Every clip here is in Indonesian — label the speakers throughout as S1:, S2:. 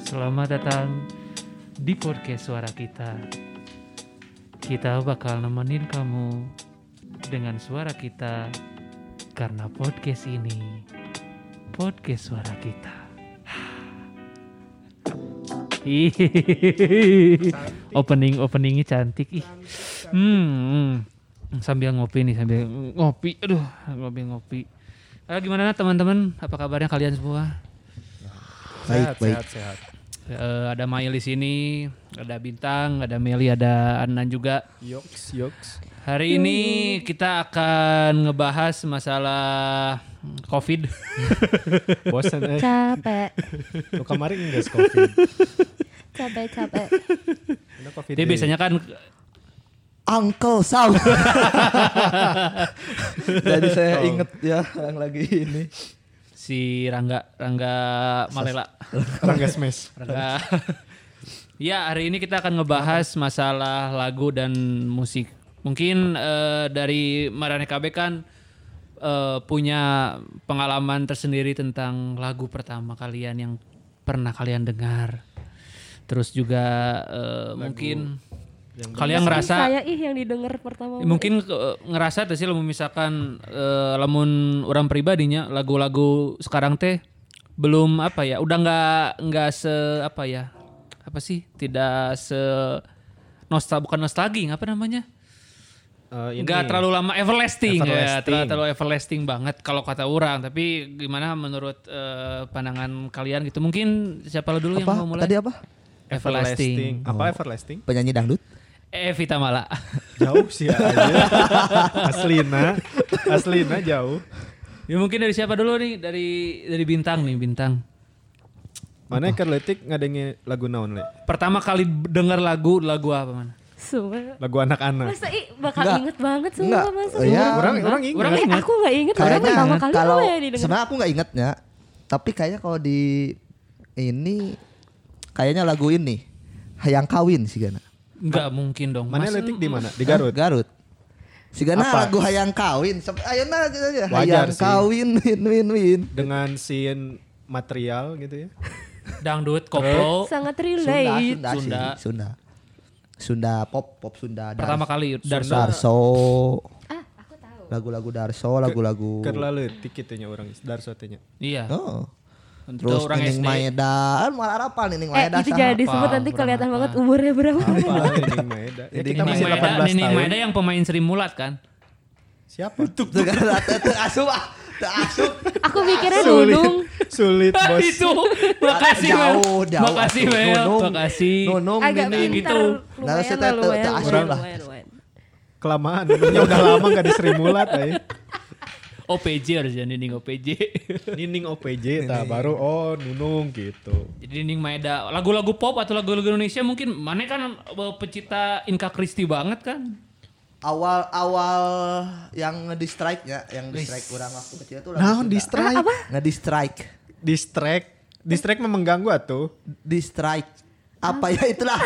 S1: Selamat datang di podcast suara kita. Kita bakal nemenin kamu dengan suara kita karena podcast ini podcast suara kita. Ih, opening openingnya cantik ih. Hmm, hmm. sambil ngopi nih sambil ngopi. Aduh, ngopi ngopi. Eh, gimana teman-teman? Apa kabarnya kalian semua?
S2: sehat,
S3: Baik, baik.
S2: sehat, sehat.
S1: Eh, ada Mail di sini, ada Bintang, ada Meli, ada Anan juga.
S2: Yoks, yoks.
S1: Hari ini kita akan ngebahas masalah COVID.
S2: Bosan eh.
S4: capek
S2: Lu kemarin enggak covid.
S4: capek capek
S2: Lu covid.
S1: Dia
S2: deh.
S1: biasanya kan
S3: Uncle Sam. Jadi saya inget ya yang lagi ini.
S1: si Rangga Rangga Malela.
S2: Rangga smash.
S1: Rangga. ya, hari ini kita akan ngebahas masalah lagu dan musik. Mungkin eh, dari Marane KB kan eh, punya pengalaman tersendiri tentang lagu pertama kalian yang pernah kalian dengar. Terus juga eh, mungkin kalian ngerasa
S4: saya ih yang didengar pertama
S1: Ya, mungkin eh, ngerasa tuh sih lamun misalkan eh, lamun orang pribadinya lagu-lagu sekarang teh belum apa ya udah nggak nggak se apa ya apa sih tidak se nostal bukan nostalgia apa namanya
S2: Eh, ini.
S1: nggak terlalu lama everlasting, ya
S2: Everlasting.
S1: terlalu, terlalu everlasting banget kalau kata orang tapi gimana menurut eh, pandangan kalian gitu mungkin siapa dulu yang
S3: Apa?
S1: mau mulai
S3: Tadi apa?
S1: everlasting, Oh.
S2: Apa everlasting?
S3: Penyanyi dangdut.
S1: Evita Mala
S2: Jauh sih ya, aja. Aslina. Aslina jauh.
S1: ya mungkin dari siapa dulu nih dari dari bintang nih bintang
S2: Mana keur leutik ngadengi lagu naon le?
S1: Pertama kali dengar lagu lagu apa mana?
S4: sumpah
S1: Nah.
S2: Lagu anak-anak.
S4: masa ih bakal
S3: Enggak.
S4: inget banget sumpah
S3: Enggak.
S4: masa
S3: Eh, ya.
S2: Orang
S1: Orang
S2: orang ingat.
S4: eh
S1: ingat.
S4: aku nggak inget orang
S3: Kayaknya
S4: pertama kali
S3: kalau
S4: apa ya didengar
S3: sebenarnya aku nggak ingetnya, tapi kayaknya kalau di ini kayaknya lagu ini Hayang Kawin sih Gana.
S1: Enggak mungkin dong.
S2: Mana
S1: Mas.
S2: leutik di mana? Di Garut.
S3: Garut. Si Gana
S2: Apa?
S3: lagu Hayang Kawin. Sep- Ayo nah gitu aja.
S2: Wajar
S3: Hayang
S2: sih.
S3: Kawin win win win.
S2: Dengan scene material gitu ya.
S1: Dangdut, koplo.
S4: sangat
S3: Sunda,
S4: relate Eh,
S3: Sunda,
S1: Sunda.
S3: Sunda. Sunda. Sunda pop, pop Sunda. Dar-
S1: Pertama kali Darso.
S3: Darso.
S4: ah aku tahu
S3: Lagu-lagu Darso,
S1: Oh.
S3: lagu-lagu.
S2: Keur leutik kitu nya orang Darso teh nya.
S1: Iya.
S3: Oh.
S1: Untuk
S3: Terus
S1: orang SD.
S3: Nining Maeda, Muara Harapan Nining
S4: eh
S3: Maeda.
S4: itu
S3: saha.
S4: jadi
S1: apa,
S4: sebut nanti
S1: kurang
S4: kelihatan
S1: apa.
S4: banget umurnya berapa
S2: Apa Nining Maeda? Ya
S3: Nining
S2: kita
S1: Nining
S2: masih
S1: Maeda,
S2: 18
S1: Nining
S2: tahun.
S1: Maeda yang pemain Sri Mulat kan?
S2: Siapa?
S3: Tuh kan teu- teu asup ah. Teu asup.
S4: aku mikirnya dudung
S2: Sulit
S1: Ah,
S2: bos.
S1: itu. Makasih, Mel.
S3: Jauh, jauh.
S1: Makasih,
S3: asup.
S2: Eh,
S1: Mel.
S3: Nunung,
S1: Makasih.
S3: Nunung
S4: agak
S1: gitu.
S3: Nining.
S4: pintar
S3: Nah,
S4: lumayan
S3: saya
S4: lah
S3: teu- teu
S4: lumayan
S3: asup
S4: lumayan,
S3: lah.
S4: lumayan, lumayan.
S2: Kelamaan. Ini udah lama gak diserimulat ya.
S1: OPJ harusnya Nining OPJ.
S2: Nining OPJ tah baru oh nunung gitu.
S1: Jadi Nining Maeda. Lagu-lagu pop atau lagu-lagu Indonesia mungkin mana kan eh, pecinta Inka Kristi banget kan?
S3: Awal-awal yang nge-distrike ya, yang distrike kurang waktu kecil tuh lagu
S2: Naon
S3: Sunda.
S2: Nah, di strike?
S4: Ah, apa
S3: Nge-distrike.
S2: Distract. Distract mah mengganggu atuh.
S3: Distrike. Apa ya itulah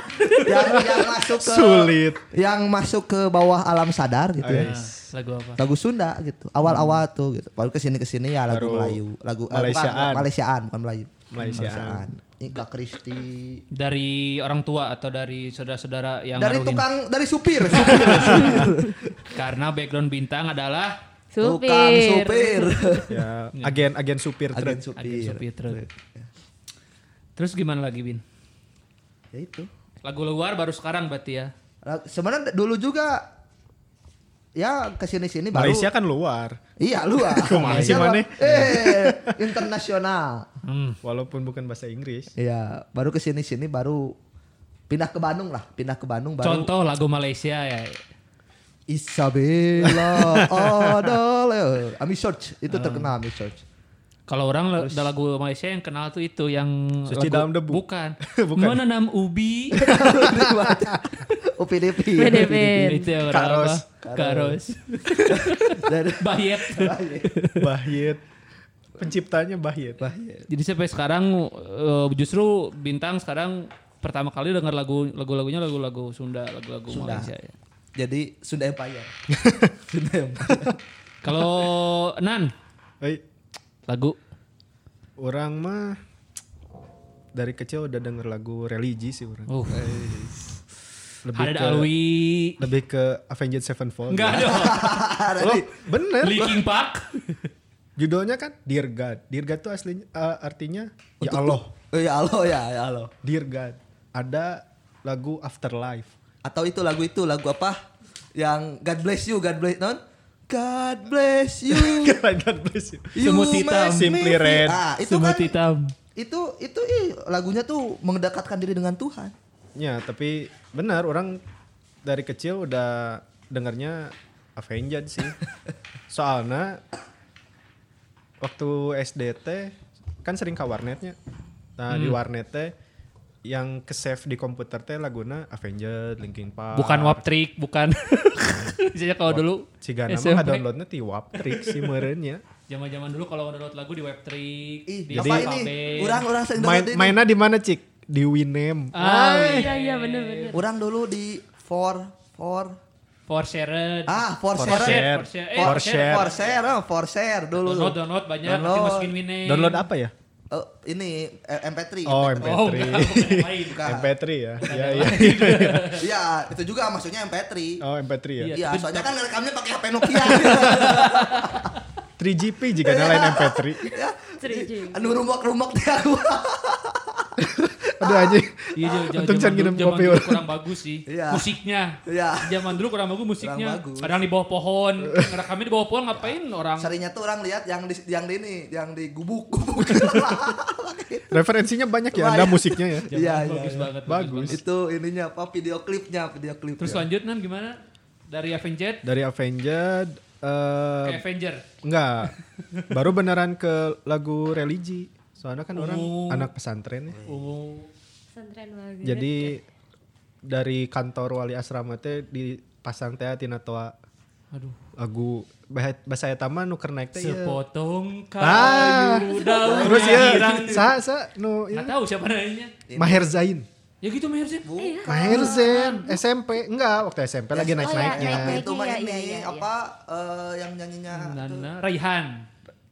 S3: yang, yang masuk ke
S2: Sulit.
S3: yang masuk ke bawah alam sadar gitu ya.
S1: Nah, lagu apa?
S3: lagu Sunda gitu awal-awal tuh gitu baru kesini kesini ya lagu
S2: Baru
S3: Melayu lagu eh,
S2: Malaysiaan.
S3: bukan, Malaysiaan bukan Melayu
S2: Malaysiaan.
S3: Ika Kristi
S1: Dari orang tua atau dari saudara-saudara yang
S3: dari
S1: ngaruhin?
S3: tukang dari supir supir
S1: Karena background bintang adalah
S3: tukang
S4: supir
S3: supir
S2: Ya agen agen supir
S3: agen
S2: truk.
S1: agen
S3: supir
S1: supir truk.
S2: Iya.
S1: Terus gimana lagi Bin?
S3: ya itu
S1: Lagu luar baru sekarang berarti ya?
S3: Lah, sebenarnya dulu juga ya kesini sini baru
S2: Malaysia kan luar.
S3: iya lu ah
S2: Kumaha sih,
S3: Iya,
S2: Mane?
S3: eh internasional
S1: Hmm.
S2: Walaupun bukan bahasa Inggris.
S3: Iya, baru kesini sini baru pindah ke Bandung lah, pindah ke Bandung baru
S1: Contoh lagu Malaysia ya.
S3: Isabella Adele Ami Search itu terkenal Ami Search
S1: Kalau orang le- ada lagu Malaysia yang kenal tuh itu yang lagu-
S2: Suci dalam debu.
S1: Bukan.
S2: Bukan.
S1: Menanam ubi.
S3: UPDP
S4: PDP.
S1: itu yang orang
S2: Karos.
S1: apa? Karos.
S3: Dan-
S1: Bayet.
S2: Bahyet. Penciptanya Bahyet.
S1: Jadi sampai sekarang eh, justru bintang sekarang pertama kali denger lagu lagu-lagunya lagu-lagu Sunda, lagu-lagu
S3: Sunda.
S1: Malaysia. ya.
S3: Jadi Sunda Empire Sunda Empire
S1: Kalau Nan
S2: Baik.
S1: lagu
S2: Orang mah dari kecil udah denger lagu religi sih orang.
S1: Uh.
S2: Lebih
S1: Ada
S2: ke
S1: Alwi.
S2: lebih ke Avenged Sevenfold.
S1: Enggak dong.
S2: Loh, bener.
S1: Leaking Park.
S2: Judulnya kan Dear God. Dear God tuh aslinya eh, artinya ya
S3: Untuk-
S2: Allah.
S3: Oh, ya Allah ya, ya Allah.
S2: Dear God. Ada lagu Afterlife.
S3: Atau itu lagu itu lagu apa? Yang God bless you, God bless non? God bless you.
S2: God bless you.
S3: you
S1: Semut hitam.
S3: make me
S2: Simply
S3: feel-
S2: Red.
S3: Ah, itu
S1: Semut
S3: kan
S1: hitam.
S3: itu itu ih, lagunya tuh mendekatkan diri dengan Tuhan.
S2: Ya, tapi benar orang dari kecil udah dengarnya Avenged sih. Soalnya waktu SD teh kan sering ke warnetnya. Nah, di warnet teh yang ke save di komputer teh laguna Avenged, Linkin Park.
S1: Bukan wap trick, bukan. Misalnya kalau dulu
S2: Ciga nama
S1: SMP.
S2: downloadnya ti Wap Trick si meureunnya.
S1: Zaman-zaman dulu kalau download lagu di webtrick,
S3: Ih,
S1: di
S3: apa ini?
S1: Alphabet.
S3: Orang-orang sering
S2: Main,
S3: dengerin ini.
S2: mainnya di mana, Cik? Di Winamp.
S1: Ah,
S4: Iya iya bener bener.
S3: Orang dulu di for for
S1: for shared.
S3: ah for,
S2: For
S3: share.
S2: share.
S1: For share. Eh,
S3: For
S1: for
S3: share,
S1: share.
S3: for share, oh, for share dulu.
S1: Download, download banyak. nanti
S3: Download.
S1: masukin Winamp.
S2: Download apa ya?
S3: Eh, ini eh, MP3.
S2: Oh,
S1: Oh,
S2: MP3.
S1: bukan, bukan yang lain.
S3: Bukan.
S2: MP3 ya. Ya, ya.
S3: Iya, itu juga maksudnya MP3.
S2: Oh, MP3 ya.
S1: Iya.
S3: Iya, soalnya kan rekamnya pakai HP Nokia.
S2: 3GP jika ada lain MP3.
S3: ya.
S4: Serius.
S3: Anu rumok-rumok dia aku.
S2: Aduh anjing.
S1: Iya, jauh- jauh- zaman
S2: Untung jangan
S1: dulu-
S2: ngirim
S1: zaman
S2: kopi
S1: dulu
S2: orang.
S1: kurang bagus sih
S3: Iya.
S1: musiknya.
S3: Iya.
S1: Zaman dulu kurang bagus musiknya.
S3: Kurang bagus.
S1: Kadang di bawah pohon, ngerekamnya di bawah pohon ngapain orang?
S3: Seringnya tuh orang lihat yang di yang di ini, yang di gubuk-gubuk.
S2: Referensinya banyak ya Anda
S3: Banyak.
S2: musiknya ya.
S1: Zaman
S3: Iya,
S1: dulu
S3: iya,
S1: bagus
S3: iya.
S1: banget.
S2: Bagus.
S1: banget.
S3: itu ininya apa video klipnya, video klip.
S2: Iya.
S1: Terus lanjut nan gimana? Dari Avenged
S2: Dari Avenged eh
S1: ke Avenger.
S2: enggak. Baru beneran ke lagu religi. Soalnya kan orang
S1: Oh.
S2: anak pesantren ya.
S1: Oh.
S4: Pesantren warga.
S2: Jadi dari kantor wali asrama teh dipasang teh tina toa
S1: Aduh.
S2: lagu bah- bahasa eta mah nu keur naik teh ieu.
S1: Sepotong
S2: Iya. Ah.
S1: kayu daun
S2: Terus ya,
S3: Iya,
S1: hirang.
S2: sa sa nu
S1: Nggak
S2: ieu.
S3: Nah,
S1: tahu siapa namanya.
S2: Maher Zain.
S1: Ya gitu Maher sih.
S2: Maher Zain SMP enggak waktu SMP lagi
S3: Oh, ya,
S2: naik-naiknya.
S4: naik-naik.
S3: Itu mah
S4: Iya,
S3: ini
S4: iya, iya.
S3: apa eh, yang nyanyinya tuh.
S1: Nana Nah, Raihan.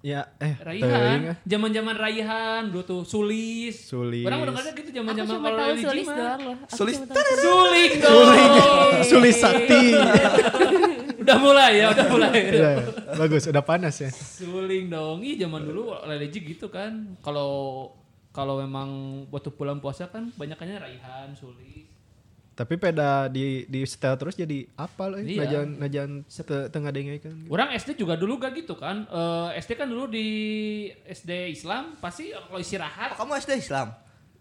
S2: Ya, eh, teuing ah.
S3: iya.
S1: Raihan, zaman-zaman Raihan dulu tuh Sulis.
S2: Sulis.
S1: Orang udah kadang gitu
S4: Aku
S1: zaman-zaman
S4: cuma
S1: kalau
S4: tahu
S1: religi
S4: sulis
S1: mah.
S4: doang loh. Aku
S3: Sulis.
S4: cuma tahu-
S1: Sulis dong.
S2: Sulis Sakti.
S1: udah mulai ya, udah mulai.
S2: Iya, bagus, udah panas ya.
S1: Suling dong. Ih, zaman dulu religi gitu kan. Kalau kalau memang waktu pulang puasa kan banyakannya Raihan, Sulis.
S2: Tapi peda di di setel terus jadi apa loh?
S1: Iya.
S2: Najan najan te- tengah dengai kan.
S1: Orang SD juga dulu gak gitu kan. Eh, SD kan dulu di SD Islam pasti kalau istirahat
S3: Kamu SD Islam?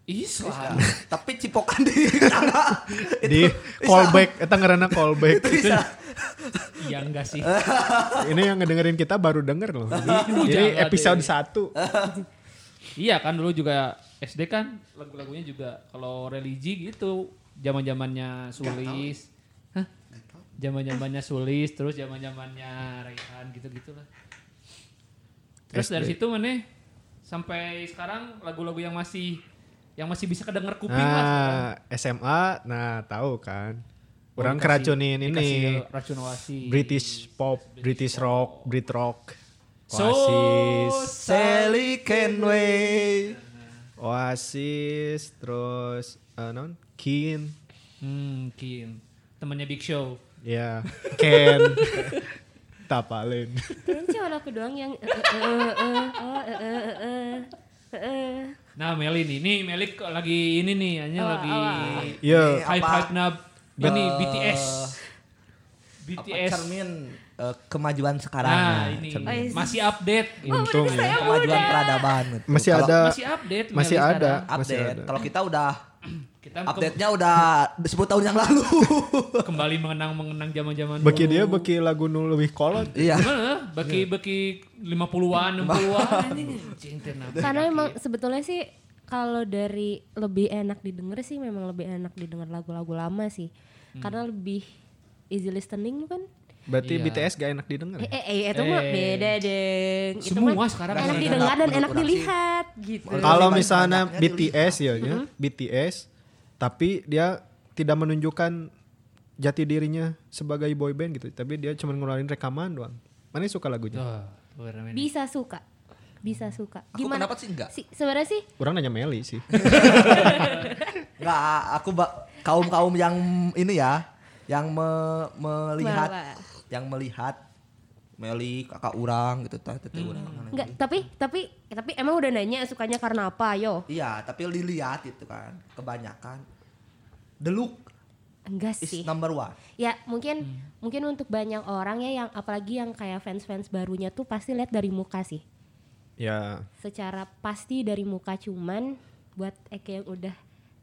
S1: Islam.
S3: Islam. Iya. Tapi cipokan di sana. Itu
S2: Di
S3: Islam.
S2: callback, eta ngarana callback.
S3: Itu Islam.
S1: Iya enggak sih.
S2: Ini yang ngedengerin kita baru denger loh.
S1: Aduh,
S2: Jadi
S1: jangan
S2: episode
S1: deh.
S2: 1.
S1: Iya kan dulu juga SD kan lagu-lagunya juga kalau religi gitu zaman-zamannya Sulis. Hah? Zaman-zamannya Sulis terus zaman-zamannya Raihan gitu-gitulah. Terus dari situ mana sampai sekarang lagu-lagu yang masih yang masih bisa kedenger kuping lah.
S2: Nah, SMA, nah tahu kan. Orang keracunin
S1: Oh,
S2: ini
S1: Dikasih racun wasi.
S2: British pop, British rock, Brit rock.
S1: So
S2: Oasis.
S3: Sally Kenway.
S2: Oasis, terus eh non Kin,
S1: Hmm, Kim. Temannya Big Show.
S2: ya Ken, Tapalin.
S4: Kayaknya cuma aku doang yang eh, eh, eh, eh, oh, eh, eh, eh, eh, eh, eh.
S1: Nah, Meli nih. Nih, Meli kok lagi ini nih, hanya
S4: Awal,
S1: lagi
S4: awal.
S2: Yo,
S3: Ini
S1: hype
S3: apa?
S1: hype nab ini
S3: Eh,
S1: BTS.
S3: Apa
S1: BTS.
S3: cermin eh, kemajuan sekarang?
S1: Nah, ini
S3: Cermin.
S4: Cermin.
S1: masih update.
S2: untung ya.
S3: Kemajuan peradaban. gitu.
S2: Masih
S3: Kalau
S2: ada,
S1: Masih update. Meli
S2: masih
S1: sekarang.
S2: ada, masih
S3: update.
S2: ada.
S3: Kalau kita udah
S1: Kita ke-
S3: update-nya udah 10 tahun yang lalu.
S1: kembali mengenang-mengenang zaman-zaman
S2: Beki
S1: dulu.
S2: dia beki lagu nu lebih kolot.
S3: Iya.
S1: Gimana? Beki beki 50-an, 60-an anjing. Anjing, teh, nabi.
S4: Karena emang sebetulnya sih kalau dari lebih enak didengar sih memang lebih enak didengar lagu-lagu lama sih. Karena lebih easy listening kan.
S2: Berarti
S1: Iya.
S2: BTS gak enak didengar. ya?
S4: Eh, eh, eh, itu mah
S1: Eh.
S4: beda deng. Itu
S1: Semua
S4: mah
S1: sekarang
S4: enak
S1: enak.
S4: didengar dan
S3: Menurut orang
S4: enak
S3: sih.
S4: dilihat gitu.
S2: Kalau
S3: Lebih
S2: misalnya
S3: banyaknya dilihat.
S2: BTS ya, ya, BTS, tapi dia tidak menunjukkan jati dirinya sebagai boy
S1: Oh.
S2: band gitu, tapi dia cuma ngeluarin rekaman doang. Mana suka lagunya?
S1: Tuh, bener, men.
S4: Bisa suka. bisa suka.
S3: Aku pendapat sih enggak.
S4: Si, sebenarnya sih
S2: Orang nanya Meli sih.
S3: Enggak, aku kaum kaum yang ini ya, yang me- melihat,
S4: Bawa.
S3: yang melihat Meli kakak orang gitu tah teteh urang.
S4: enggak, tapi tapi tapi emang udah nanya sukanya karena apa, yo?
S3: Iya, tapi dilihat itu kan kebanyakan the look
S4: Enggak
S3: is
S4: sih.
S3: number one.
S4: Ya, mungkin
S1: Hmm.
S4: mungkin untuk banyak orang ya yang apalagi yang kayak fans-fans barunya tuh pasti lihat dari muka sih.
S2: ya
S4: Secara pasti dari muka cuman buat Eke yang udah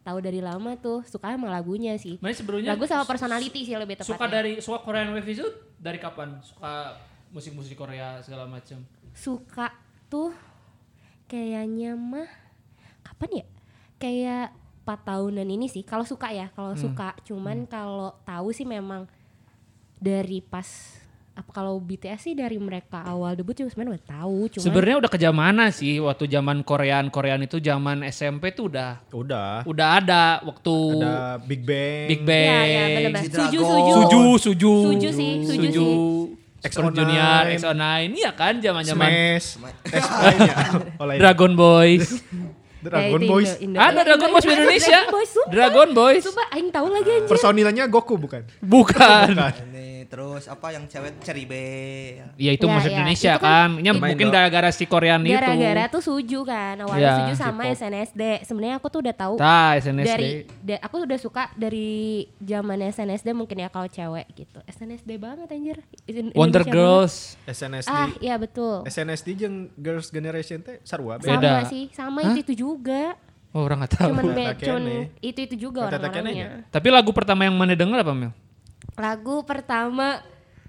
S4: tahu dari lama tuh suka sama lagunya sih.
S1: Mana sebelumnya
S4: Lagu sama personality sih lebih tepatnya.
S1: suka dari suka Korean Wave itu dari kapan? Suka musik-musik Korea segala macam.
S4: suka tuh kayaknya mah kapan ya? Kayak 4 tahunan ini sih. Kalau suka
S1: Hmm.
S4: ya, kalau suka. Cuman kalau tahu sih memang dari pas apa kalau BTS sih dari mereka awal debut juga sebenarnya udah tahu cuman
S1: Sebenarnya udah kejamanan sih waktu zaman Korean Korean itu zaman SMP tuh udah
S2: udah.
S1: udah ada waktu
S2: Ada Big Bang.
S1: Big
S4: ya,
S1: Bang.
S4: ya, bener-bener.
S3: G-Dragon.
S4: Suju, suju.
S1: Suju, suju.
S4: Suju sih, suju sih.
S1: Super
S2: XO9.
S1: Junior, XO9. Iya kan zaman-zaman
S2: Smash. Eh, lainnya. Oh, lain.
S1: Dragon Boys.
S2: Dragon
S4: Ya, itu
S2: Boys.
S4: Indo- Indo-
S1: ada
S4: Indo-
S1: Dragon Boys di Indonesia.
S4: Dragon Boys, sumpah.
S1: Dragon Boys.
S4: Sumpah, aing tahu lagi anjir.
S2: Personilnya Goku bukan?
S1: Bukan.
S3: Ini terus apa yang cewek Cherry Bell.
S1: Ya itu
S4: Ya,
S1: musik
S4: ya.
S1: Indonesia
S4: Itu
S1: kan.
S4: kan-
S1: Ya,
S2: Itu-
S1: mungkin gara-gara si Korean itu.
S4: Gara-gara tuh suju kan. Awalnya
S1: Ya,
S4: suju sama
S2: K-pop.
S4: SNSD. Sebenarnya aku tuh udah tahu
S1: Tah, SNSD.
S4: dari da- aku udah suka dari zaman SNSD mungkin ya kalau cewek gitu. SNSD banget anjir. In-
S1: Wonder
S4: Indonesia
S1: Girls.
S4: banget. Ah,
S2: SNSD.
S4: iya betul.
S2: SNSD jeung Girls Generation teh sarua
S1: Sa-
S2: be.
S1: beda.
S4: Sama sih, sama itu itu juga.
S1: Oh, orang nggak
S4: Cuman
S1: tahu.
S4: be,
S2: Tatakennya.
S4: cuman itu itu juga
S2: Tatakennya
S4: orang-orangnya.
S1: Tapi lagu pertama yang mana denger apa Mel?
S4: Lagu pertama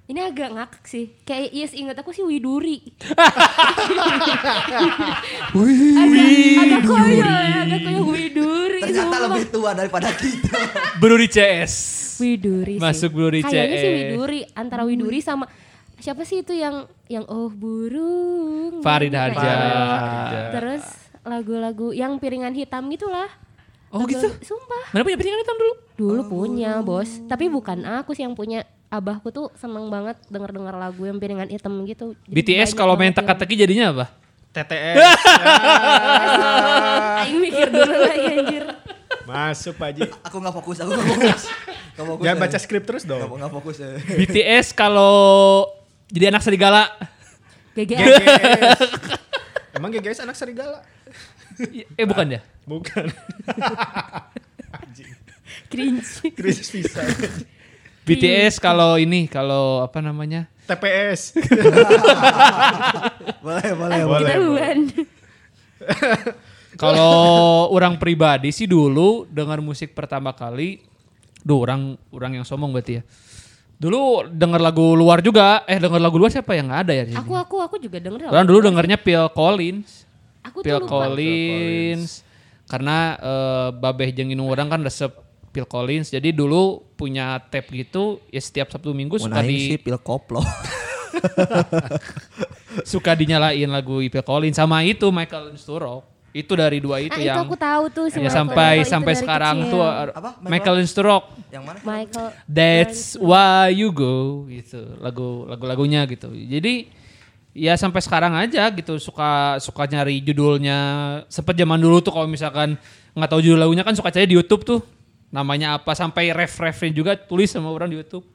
S4: ini agak ngakak sih. Kayak yes ingat aku sih Widuri. Widuri. Agak koyo, ya, agak koyo Widuri.
S3: Ternyata
S4: sumpah.
S3: lebih tua daripada kita.
S1: Bro di CS.
S4: Widuri
S1: Masuk
S4: sih.
S1: Widuri E.
S4: Kayaknya sih
S1: CS.
S4: Widuri antara Widuri sama siapa sih itu yang yang oh burung.
S1: Farid
S4: Kayak
S1: Harja.
S4: gitu.
S1: Farid Harja.
S4: Terus lagu-lagu yang piringan hitam gitulah.
S1: Oh, gitu? Oh.
S4: Sumpah.
S1: Mana punya piringan hitam dulu?
S4: Dulu punya, Bos. Tapi bukan aku sih yang punya. Abahku tuh seneng banget denger-denger lagu yang piringan hitam gitu. Jadi
S1: BTS
S4: banyak
S1: kalau main
S4: banget yang-
S1: teka-teki jadinya apa?
S2: TTS. Ya.
S4: Aing mikir dulu lagi anjir.
S2: Masuk Pak Haji.
S3: aku nggak fokus, aku nggak fokus. Nggak fokus.
S2: Jangan
S3: eh.
S2: baca skrip terus
S3: Nggak
S2: dong.
S3: nggak fokus. eh.
S1: BTS kalau jadi anak serigala.
S4: GGS.
S2: GGS. Emang GGS anak serigala?
S1: eh bukan ya?
S2: Bukan.
S4: Cringe.
S2: Krisis bisa.
S1: BTS kalau ini kalau apa namanya?
S2: TPS.
S3: Boleh,
S2: Eh,
S3: boleh. boleh.
S2: Boleh,
S4: Ketahuan.
S1: Kalau orang pribadi sih dulu dengar musik pertama kali, duh orang orang yang sombong berarti ya. Dulu dengar lagu luar juga, eh dengar lagu luar siapa yang nggak ada ya? di sini?
S4: Aku aku aku juga denger
S1: Orang dulu dengarnya Phil Collins.
S4: Aku tuh
S1: Phil
S4: lupa.
S1: Collins. Karena eh, babeh jeung indung orang kan resep Phil Collins. Jadi dulu punya tape gitu ya setiap Sabtu Minggu
S3: Mun
S1: suka
S3: aing
S1: di
S3: sih pil koplo.
S1: suka dinyalain lagu Phil Collins sama itu Michael Insturo. Itu dari dua itu
S4: Ah, itu
S1: yang
S4: aku tahu tuh si
S1: ya
S4: Michael
S1: sampai
S4: Jackson itu
S1: sampai
S4: dari
S1: sekarang
S4: kecil.
S1: tuh
S3: Apa?
S1: Michael Insturo.
S3: yang mana?
S4: Michael
S1: That's why you go gitu lagu lagu lagunya gitu. Jadi ya sampai sekarang aja gitu suka suka nyari judulnya. Sempet zaman dulu tuh kalau misalkan nggak tahu judul lagunya kan suka cari di YouTube tuh namanya apa sampai ref refnya juga tulis sama orang di YouTube.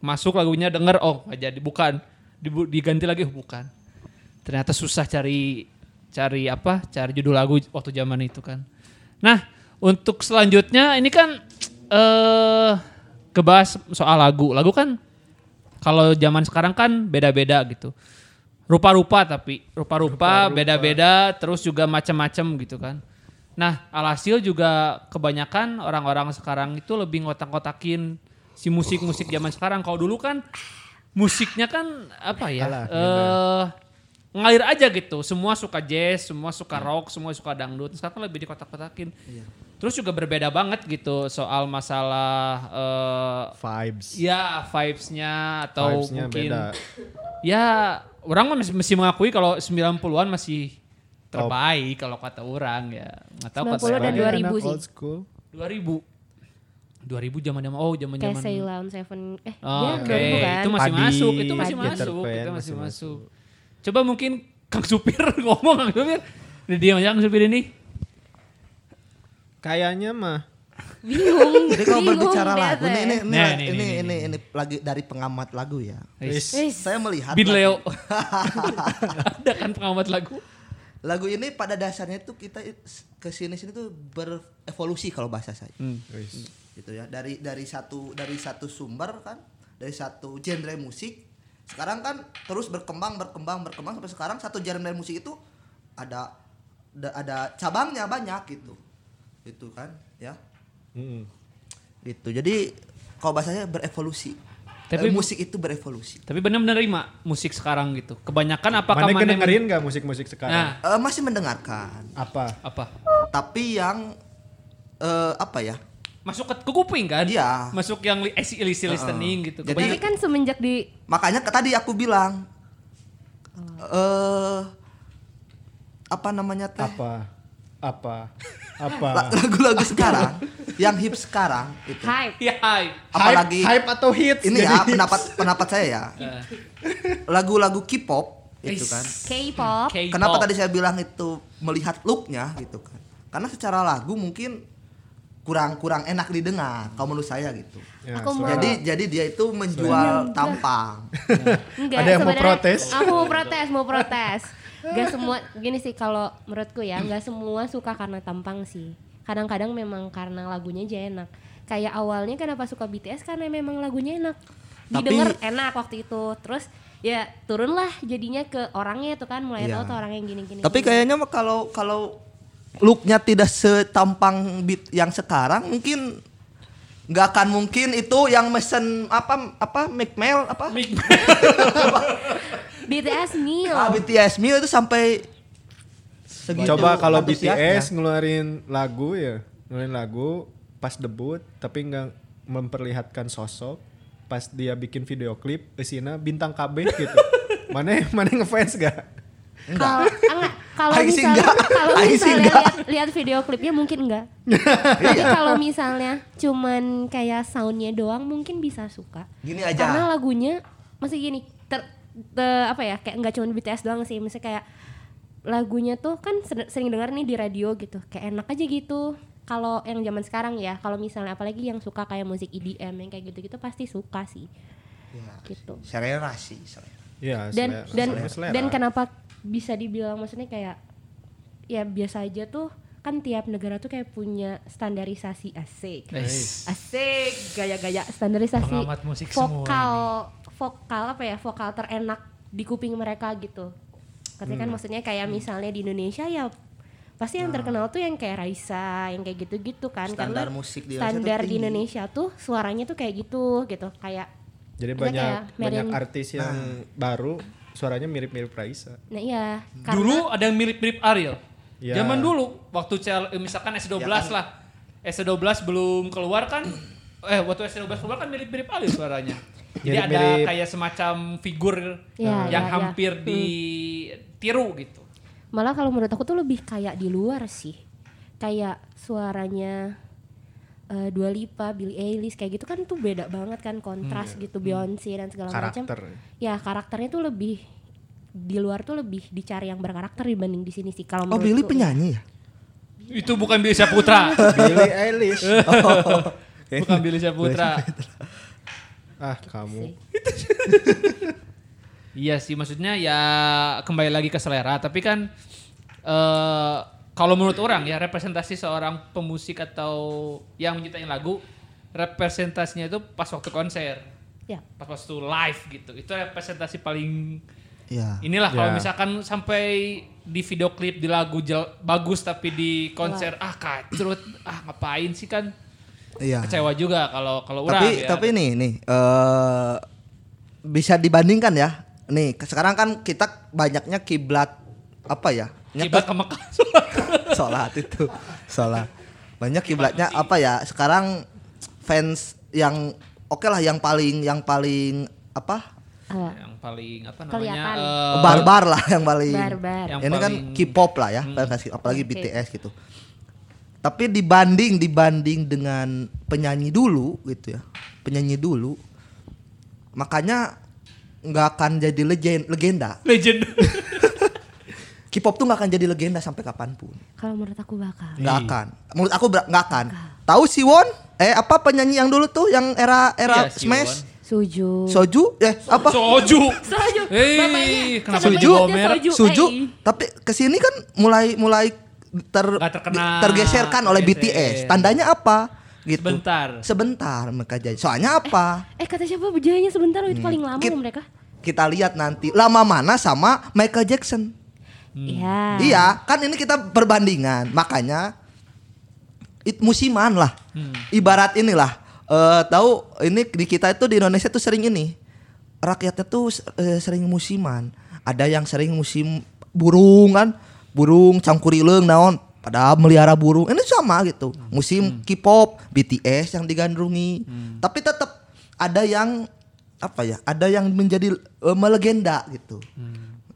S1: Masuk lagunya denger oh nggak jadi bukan Dibu- diganti lagi oh, bukan. Ternyata susah cari cari apa cari judul lagu waktu zaman itu kan. Nah untuk selanjutnya ini kan eh kebahas soal lagu. Lagu kan kalau zaman sekarang kan beda-beda gitu. Rupa-rupa tapi rupa-rupa beda-beda terus juga macam-macam gitu kan. Nah, alhasil juga kebanyakan orang-orang sekarang itu lebih ngotak-ngotakin si musik-musik zaman sekarang. Kalau dulu kan musiknya kan apa ya?
S2: Alah,
S1: eh ngalir aja gitu. Semua suka jazz, semua suka rock, semua suka dangdut. Sekarang kan lebih dikotak-kotakin. Terus juga berbeda banget gitu soal masalah eh,
S2: Vibes.
S1: Ya vibes-nya atau
S2: Vibes-nya
S1: mungkin
S2: beda.
S1: ya orang mah masih, masih mengakui kalau 90-an masih terbaik kalau kata orang ya. Nggak tahu kata
S4: 90 dan
S1: orang.
S4: 2000
S2: Anak
S4: sih.
S2: Old school.
S1: 2000. 2000 zaman-zaman oh zaman-zaman.
S4: Kayak Ceylon Seven eh
S1: Oh,
S4: ya
S1: Oke,
S4: 2000 kan.
S1: itu masih
S2: Padi,
S1: masuk, itu masih
S2: Peter
S1: masuk, itu
S2: Pan
S1: masih
S2: masih
S1: masuk. Coba mungkin Kang supir ngomong Kang supir. Udah diam aja Kang supir ini.
S2: Kayaknya mah
S4: bingung
S3: Jadi kalau
S4: bingung ya.
S3: berbicara
S4: dia
S3: lagu,
S4: teh.
S3: ini ini ini
S1: Nah,
S3: ini,
S1: ini,
S3: ini,
S1: ini,
S3: ini, lagi dari pengamat lagu ya.
S1: Wis.
S4: Wis.
S3: Saya melihat
S1: Bin
S3: lagu,
S1: Leo. Ada kan pengamat lagu.
S3: lagu ini pada dasarnya tuh kita ke sini sini tuh berevolusi kalau bahasa saya.
S2: Hmm. wis.
S3: Gitu ya. Dari dari satu dari satu sumber kan, dari satu genre musik. Sekarang kan terus berkembang berkembang berkembang sampai sekarang satu genre musik itu ada ada- ada cabangnya banyak gitu. Gitu kan, ya.
S2: Mm-mm.
S3: Gitu. Jadi kalau bahasanya berevolusi.
S1: Tapi-
S3: Eh, musik itu berevolusi.
S1: Tapi benar menerima musik sekarang gitu. Kebanyakan apakah
S2: Mana
S1: mana
S2: dengerin gak musik-musik sekarang?
S1: Nah,
S3: Eh, masih mendengarkan,
S2: Apa?
S1: apa?
S3: tapi yang eh, apa ya?
S1: Masuk ke, ke kuping kan?
S3: Iya.
S1: Masuk yang li, eh, easy easy listening gitu.
S3: Jadi-
S4: tapi
S1: Kebanyakan
S4: kan semenjak di
S3: Makanya ke- tadi aku bilang eh apa namanya teh?
S2: Apa? Apa?
S3: La-
S2: Apa?
S3: Lagu-lagu sekarang, yang hip sekarang itu.
S4: hype
S1: ya hai.
S3: Apalagi
S2: hype, hype atau hits?
S3: ini
S2: jadi
S3: ya
S2: hits.
S3: pendapat pendapat saya ya. Lagu-lagu K-pop itu
S1: Is-
S3: kan.
S4: K-pop
S1: K-pop.
S3: Kenapa tadi saya bilang itu melihat looknya gitu kan? Karena secara lagu mungkin kurang-kurang enak didengar kalau menurut saya gitu.
S2: Ya,
S4: Aku mau-
S2: suara.
S3: Jadi jadi dia itu menjual tampang.
S4: Enggak,
S2: Ada yang mau
S4: sebenarnya
S2: protes?
S4: Aku mau protes, mau protes. Gak semua, gini sih kalau menurutku ya, gak semua suka karena tampang sih. Kadang-kadang memang karena lagunya aja enak. Kayak awalnya kenapa suka BTS karena memang lagunya enak.
S3: Tapi-
S4: Didengar enak waktu itu. Terus ya turunlah jadinya ke orangnya tuh kan mulai
S3: Iya.
S4: tahu tuh orang yang gini-gini.
S3: Tapi kayaknya mah kalau kalau looknya tidak setampang beat yang sekarang mungkin nggak akan mungkin itu yang mesen apa apa McMel apa
S4: BTS Neil.
S3: ah, BTS Mil itu sampai segitu ya.
S2: Coba kalau
S3: antusiasnya.
S2: BTS ngeluarin lagu ya, ngeluarin lagu pas debut tapi nggak memperlihatkan sosok. Pas dia bikin video klip, kesina bintang KB gitu. mana mana ngefans gak?
S4: Kalau ah, enggak, kalau
S3: Aing sih
S4: misalnya
S3: enggak.
S4: kalau
S3: Aing sih
S4: misalnya
S3: enggak. Iya.
S4: lihat lihat video klipnya mungkin enggak. Tapi kalau misalnya cuman kayak soundnya doang mungkin bisa suka.
S3: gini aja
S4: Karena lagunya masih gini ter, te- apa ya kayak nggak cuman BTS doang sih, misalnya kayak lagunya tuh kan ser- sering dengar nih di radio gitu, kayak enak aja gitu. Kalau yang zaman sekarang ya, kalau misalnya apalagi yang suka kayak musik EDM yang kayak gitu-gitu pasti suka sih
S3: Ya,
S4: gitu
S3: selera sih selera.
S2: Ya,
S4: dan
S2: selera-
S4: dan
S2: selera- selera.
S4: dan kenapa bisa dibilang maksudnya kayak ya biasa aja tuh kan tiap negara tuh kayak punya standarisasi asik
S1: Nice.
S4: asik gaya-gaya standarisasi
S1: Pengamat musik semua
S4: vokal vokal apa ya vokal terenak di kuping mereka gitu
S3: Hmm.
S4: Katanya kan maksudnya kayak misalnya di Indonesia ya pasti yang terkenal tuh yang kayak Raisa yang kayak gitu-gitu kan
S3: Nah. Standar
S4: karena
S3: musik di Indonesia tuh
S4: standar di
S3: tinggi.
S4: Indonesia tuh suaranya tuh kayak gitu gitu kayak
S2: Jadi
S4: Misalnya
S2: banyak
S4: kayak
S2: banyak
S4: Marian-
S2: artis yang baru suaranya mirip-mirip Raisa.
S4: nah iya karena-
S1: Dulu ada yang mirip-mirip Ariel.
S2: Ya.
S1: Zaman dulu waktu CL, eh, misalkan S12
S3: Iya kan?
S1: lah. S12 belum keluar kan eh waktu S12 keluar kan mirip-mirip Ariel suaranya. Jadi ada
S2: Mirip-mirip.
S1: kayak semacam figur
S4: Ya,
S1: yang
S4: ya, ya.
S1: hampir ditiru gitu.
S4: Malah kalau menurut aku tuh lebih kayak di luar sih. Kayak suaranya eh, Dua Lipa, Billie Eilish kayak gitu kan tuh beda banget kan kontras
S3: Hmm, iya.
S4: gitu Beyonce dan segala macam.
S2: Karakter.
S4: Ya karakternya tuh lebih di luar tuh lebih dicari yang berkarakter dibanding di sini sih kalau
S3: Oh Billy
S4: menurutku.
S3: penyanyi ya?
S1: Itu bukan Billy Saputra.
S2: Billie Eilish.
S1: bukan Billy Saputra.
S2: ah, kamu.
S1: Iya sih, maksudnya ya kembali lagi ke selera. Tapi kan eh kalau menurut orang ya representasi seorang pemusik atau yang menciptain lagu representasinya itu pas waktu konser,
S4: Ya.
S1: pas waktu live gitu. Itu representasi paling
S3: Iya.
S1: inilah kalau
S2: Ya.
S1: misalkan sampai di video klip di lagu jel- bagus tapi di konser ah kacrut ah ngapain sih kan
S3: Iya.
S1: kecewa juga kalau kalau orang
S3: tapi
S1: ya.
S3: tapi nih nih eh bisa dibandingkan ya nih ke- sekarang kan kita banyaknya kiblat apa ya
S1: Tiba
S3: nyetok
S1: ke Mekah.
S3: sholat itu sholat banyak kiblatnya apa ya sekarang fans yang oke lah yang paling yang paling apa
S4: Eh,
S1: yang paling apa namanya
S4: Kelihatan.
S1: eh,
S3: barbar lah yang paling
S4: Barbar.
S1: Yang
S3: ini kan
S1: paling- Hmm.
S3: K-pop lah ya apalagi
S4: Oke.
S3: BTS gitu tapi dibanding dibanding dengan penyanyi dulu gitu ya penyanyi dulu makanya nggak akan jadi legend legenda
S1: legend
S3: K-pop tuh nggak akan jadi legenda sampai kapanpun.
S4: Kalau menurut aku bakal.
S3: Nggak akan. Menurut aku ber- nggak akan. Tahu Siwon? Eh apa penyanyi yang dulu tuh yang era era
S1: Iya,
S3: Smash?
S4: Suju.
S3: Soju? Eh apa?
S1: Soju.
S4: Soju.
S1: Hei,
S4: Bapaknya.
S1: kenapa
S4: Kenapa
S3: Suju?
S4: nyebutnya Soju?
S3: Suju.
S4: Eh,
S3: Tapi kesini kan mulai mulai ter
S1: Nggak Iya, terkena.
S3: di- tergeserkan oleh
S1: Tergeser.
S3: BTS. Tandanya apa? Gitu.
S1: Sebentar.
S3: Sebentar mereka jadi. Soalnya apa?
S4: Eh kata siapa berjayanya sebentar itu paling
S3: Hmm.
S4: lama
S3: Kit-
S4: loh mereka.
S3: Kita lihat nanti lama mana sama Michael Jackson.
S4: Iya.
S3: Hmm. Iya, kan ini kita perbandingan. Makanya it musiman lah. Ibarat inilah eh tahu ini di kita itu di Indonesia tuh sering ini. Rakyatnya tuh eh, sering musiman. Ada yang sering musim burung kan, burung cangkurileung naon pada melihara burung. Ini sama gitu. Musim K-pop, BTS yang digandrungi. Tapi tetap ada yang apa ya? Ada yang menjadi eh, melegenda gitu.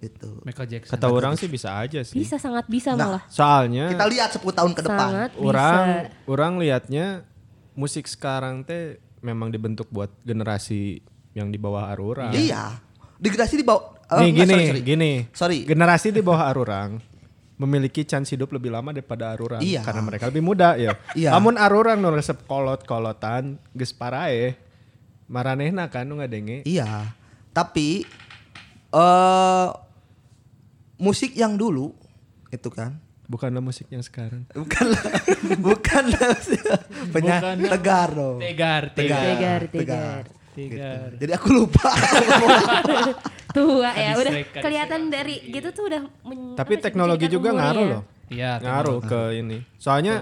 S3: Gitu.
S1: Michael Jackson.
S2: Kata orang sih bisa aja sih.
S4: Bisa sangat bisa
S3: Nah,
S4: malah.
S2: Soalnya
S3: Kita lihat 10 tahun ke depan.
S4: Sangat
S2: orang
S4: bisa.
S2: orang liatnya musik sekarang teh memang dibentuk buat generasi yang di bawah arurang.
S3: Iya. Degradasi di bawah eh,
S2: Nih
S3: enggak,
S2: gini,
S3: sorry, sorry.
S2: gini.
S3: Sorry.
S2: Generasi di bawah arurang memiliki chance hidup lebih lama daripada arurang
S3: Iya.
S2: karena mereka lebih muda ya.
S3: Iya.
S2: Namun arurang nu resep kolot-kolotan geus parae. Maranehna kan nu ngadenge.
S3: Iya. Tapi eh musik yang dulu itu kan
S2: Bukanlah musik yang sekarang.
S3: bukan bukan penya
S1: Bukan.
S3: tegar dong.
S1: Tegar, tegar,
S4: Tegar, tegar.
S1: tegar.
S3: Jadi aku lupa.
S4: Tua ya,
S1: Hadis
S4: udah
S1: mereka, hadis
S4: kelihatan dari gitu tuh udah men-
S2: Tapi
S4: apa sih,
S2: teknologi
S4: menjadikan
S2: juga
S4: umurnya
S2: ngaruh
S4: ya.
S2: loh.
S1: Iya,
S2: ngaruh ke ini. Soalnya